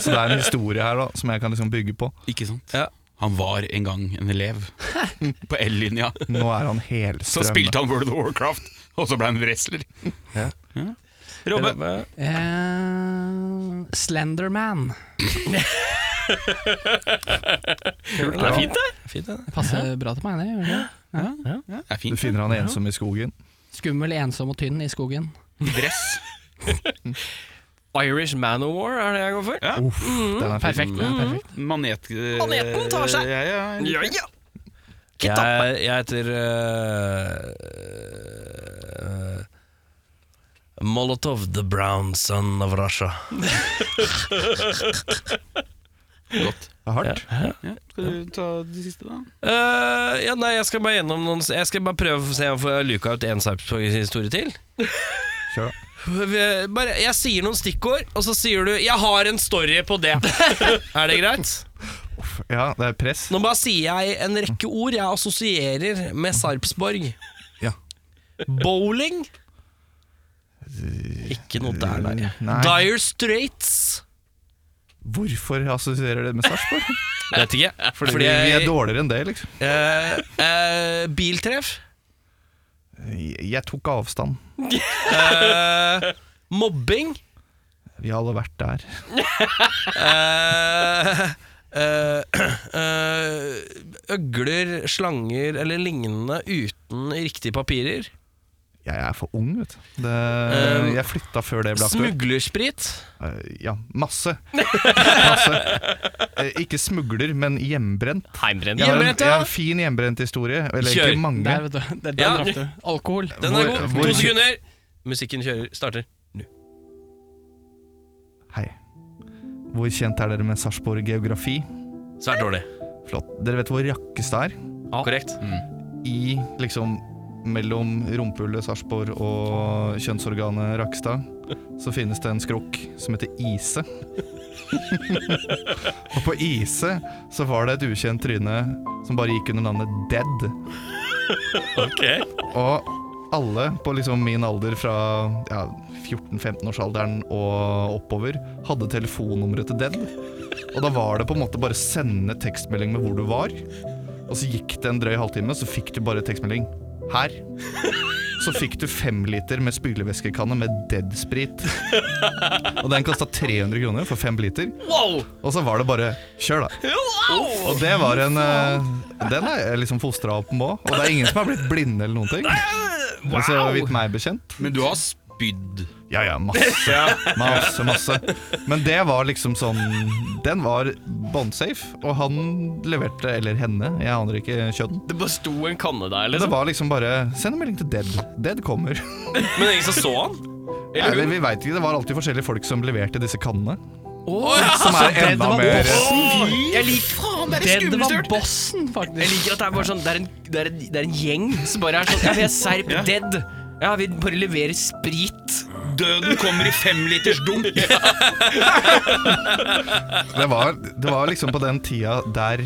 (laughs) så det er en historie her da som jeg kan liksom bygge på. Ikke sant? Han var en gang en elev (laughs) på L-linja. Nå er han Så helstrøm. spilte han World of Warcraft, og så ble han wrestler. Ja. Robbe, Eh, Slenderman. Det er fint, det. Fint, det. Det passer bra til meg, det. gjør det? det er Du fint. finner han ensom i skogen. Skummel, ensom og tynn i skogen. Dress. Irish Man of War er det jeg går for. Uff, den er fin. Perfekt. Ja, Mm. perfekt. Manet... eh, Maneten tar seg. Ja, ja. Ja, ja. Jeg, jeg heter eh, eh, Molotov, the brown son of Russia. Det er hardt. Ja. Skal du eh, ta de siste, da? Eh, ja, nei, jeg skal bare gjennom noen Jeg skal bare prøve å se om jeg får luka ut en Sarpsborg-historie til. Kjør da. Vi- Bare, jeg sier noen stikkord, og så sier du 'jeg har en story på (laughs) det'. er det greit? Ja, det er press. Nå bare sier jeg en rekke ord jeg assosierer med Sarpsborg. Ja. Bowling. Ikke noe der, nei. Nei. Dire Straits. Hvorfor assosierer det med Sarpsborg? Vet ikke. Fordi, Fordi vi er dårligere enn det, liksom. eh, eh, biltreff. Jeg tok avstand. Eh, mobbing. Vi har alle vært der. Eh, eh, eh, øgler, slanger eller lignende uten riktige papirer. Jeg er for ung, vet du. Det, Eh, jeg flytta før det ble aktuelt. Smuglersprit. Eh, ja, masse. masse. Eh, ikke smugler, men hjemmebrent. Heimbrent. Jeg har, en, Hjemmebrent, jeg har ja. en fin hjemmebrent historie. Eller Kjør. ikke mange. Der, vet du. Der, der Ja. drepte du. Alkohol. Den er Hvor- god. hvor- To sekunder. Musikken kjører. Starter. Hei. Hvor kjent er dere med Sarpsborg geografi? Svært dårlig. Flott. Dere vet hvor Rakkestad er? Korrekt. Mm, I liksom mellom rumpehullet Sarpsborg og kjønnsorganet Rakkestad så finnes det en skrukk som heter Ise. (laughs) og på Ise så var det et ukjent tryne som bare gikk under navnet Dead. Og alle på liksom min alder fra ja, 14-15-årsalderen og oppover hadde telefonnummeret til Dead. Og da var det på en måte bare sende tekstmelding med hvor du var. Og så gikk det en drøy halvtime, så fikk du bare tekstmelding. Her. Så fikk du fem liter med spylevæskekanne med Dead-sprit. Og den kosta 300 kroner for fem liter. Wow! Og så var det bare kjør, da. Og det var en eh, Den er jeg liksom fostra opp med òg. Og det er ingen som har blitt blinde eller noen ting. Så vidt meg bekjent. Men du har spydd. Ja ja, masse. Masse, masse. Men det var liksom sånn Den var bondsafe, og han leverte, eller henne, jeg aner ikke kjønn. Det bare sto en kanne der, Det var liksom bare Send en melding til Dead. Dead kommer. (laughs) Men ingen som så (laughs) han? Eller, vi vet ikke, Det var alltid forskjellige folk som leverte disse kannene. Oh, ja. Som er enda mer Jeg liker Dead var bossen, Jeg faktisk. liker at det er bare sånn Det er en, det er en, det er en gjeng som bare er sånn Ja, vi er Serb Dead. Ja, vi bare leverer sprit. Døden kommer i femliters dunk. det var, det var liksom på den tida der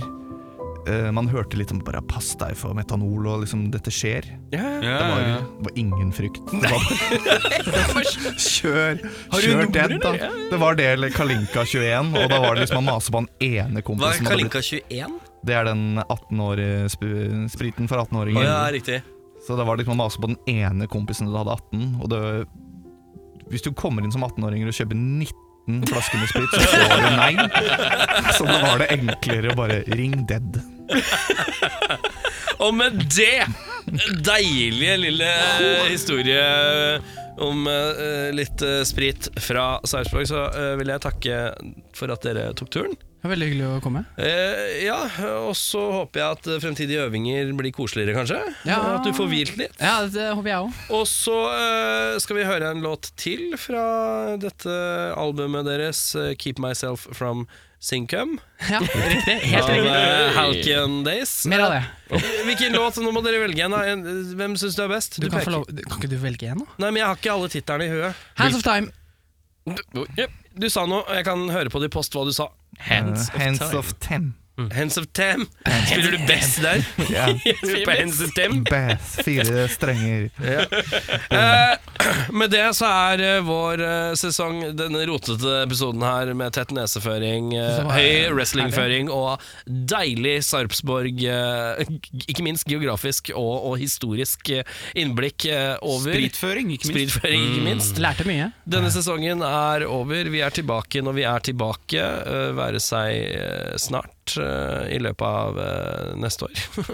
eh, man hørte litt om bare pass deg for metanol og liksom dette skjer. Det var, det var ingen frykt. Det var bare, (laughs) kjør kjør den, da. Det var det eller Kalinka 21, og da var det liksom man maste på han ene kompisen. som hadde blitt- 21? Det er den 18 år, eh, sp- spriten for 18-åringer. riktig. Så da var det liksom å mase på den ene kompisen du hadde 18. Og det, hvis du kommer inn som 18-åring og kjøper 19 flasker med sprit, så får du nei. Så da var det enklere å bare ring dead. Og med det deilige lille eh, historie om eh, litt eh, sprit fra Sarpsborg, så eh, vil jeg takke for at dere tok turen. Det var Veldig hyggelig å komme. Eh, ja, og så håper jeg at eh, fremtidige øvinger blir koseligere, kanskje. Ja. At du får hvilt litt. Ja, det håper jeg òg. Og så eh, skal vi høre en låt til fra dette albumet deres, eh, 'Keep Myself From Sinkum', Ja, (laughs) riktig. Helt av riktig. eh, Halcyon Days. Mer av det. Hvilken låt? Nå må dere velge en. da. En- Hvem syns du er best? Du kan, peker. få lov, kan ikke du velge en, da? Nei, men jeg har ikke alle titlene i huet. Hands of Time. Du, du sa noe, og jeg kan høre på det i post hva du sa. Hands, Eh, hands of ten. Mm. Hands of Tam. Spiller du best der? Ja. (laughs) På Hands of Tam. Bass, fire strenger. (clears throat) Med det så er eh, vår eh, sesong, denne rotete episoden her med tett neseføring, eh, Som er- høy wrestlingføring og deilig Sarpsborg, eh, (laughs) g- ikke minst geografisk og, og historisk eh, innblikk eh, over. Spritføring, ikke minst. Spritføring, ikke minst. Lærte mye. Denne sesongen er over. Vi er tilbake når vi er tilbake, øh, være seg øh, snart øh, i løpet av øh, neste år. (laughs)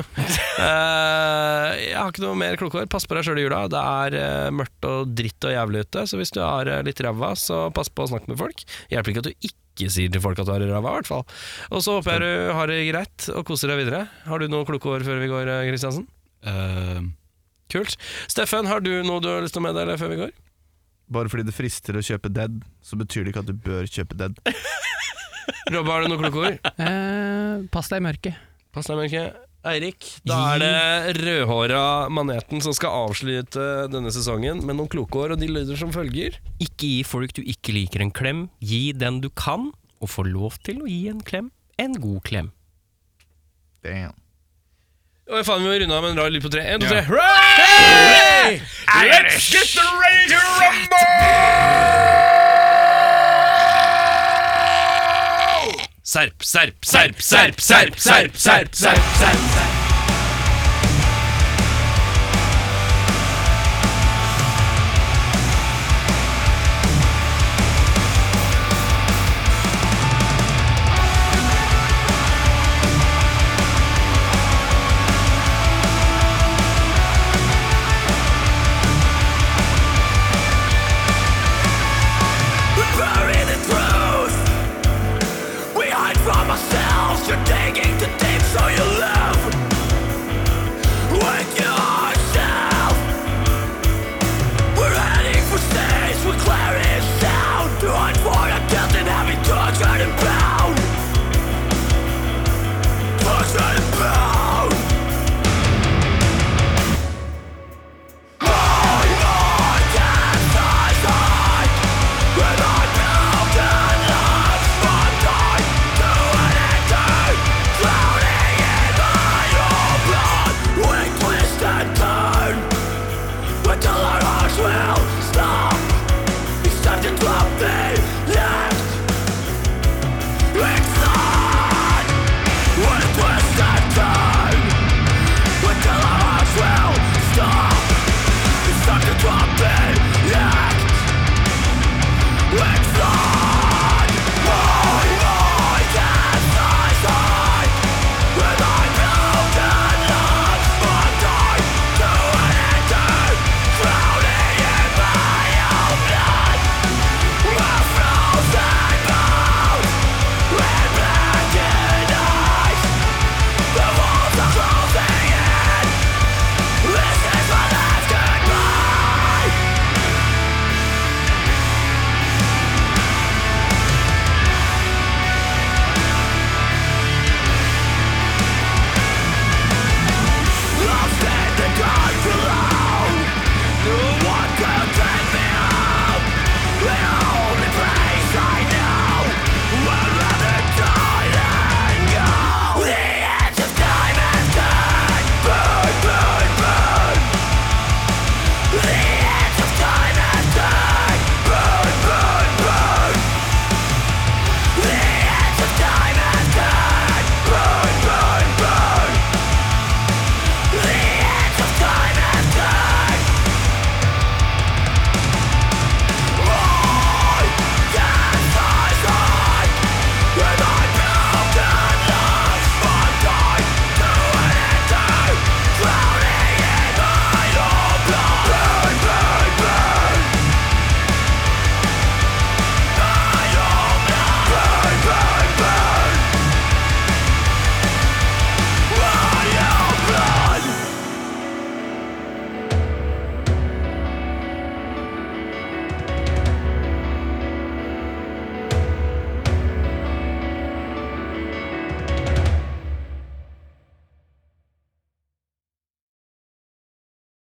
Eh, jeg har ikke noe mer kloke år. Pass på deg sjøl i jula. Det er øh, mørkt og dritt og jævlig ute, så hvis du er øh, litt ræva, så pass på å snakke med folk. Hjelper ikke at du ikke sier til folk at du er ræva, i hvert fall. Og så håper jeg du har det greit og koser deg videre. Har du noen kloke år før vi går, øh, Kristiansen? Eh, Kult. Steffen, har du noe du har lyst til å meddele før vi går? Bare fordi det frister å kjøpe dead, så betyr det ikke at du bør kjøpe dead. Robbe, har du noen kloke ord? Eh, pass deg i mørket. Pass deg, Mørke. Eirik, da er det rødhåra maneten som skal avslutte denne sesongen med noen kloke år, og de lyder som følger. Ikke gi folk du ikke liker en klem. Gi den du kan, og få lov til å gi en klem. En god klem. Damn. Og faen, vi må runde av med en rar lyd på tre. En, to, tre. Let's get the ready to rumble! Serp, serp, serp, serp, serp, serp, serp, serp, serp. serp.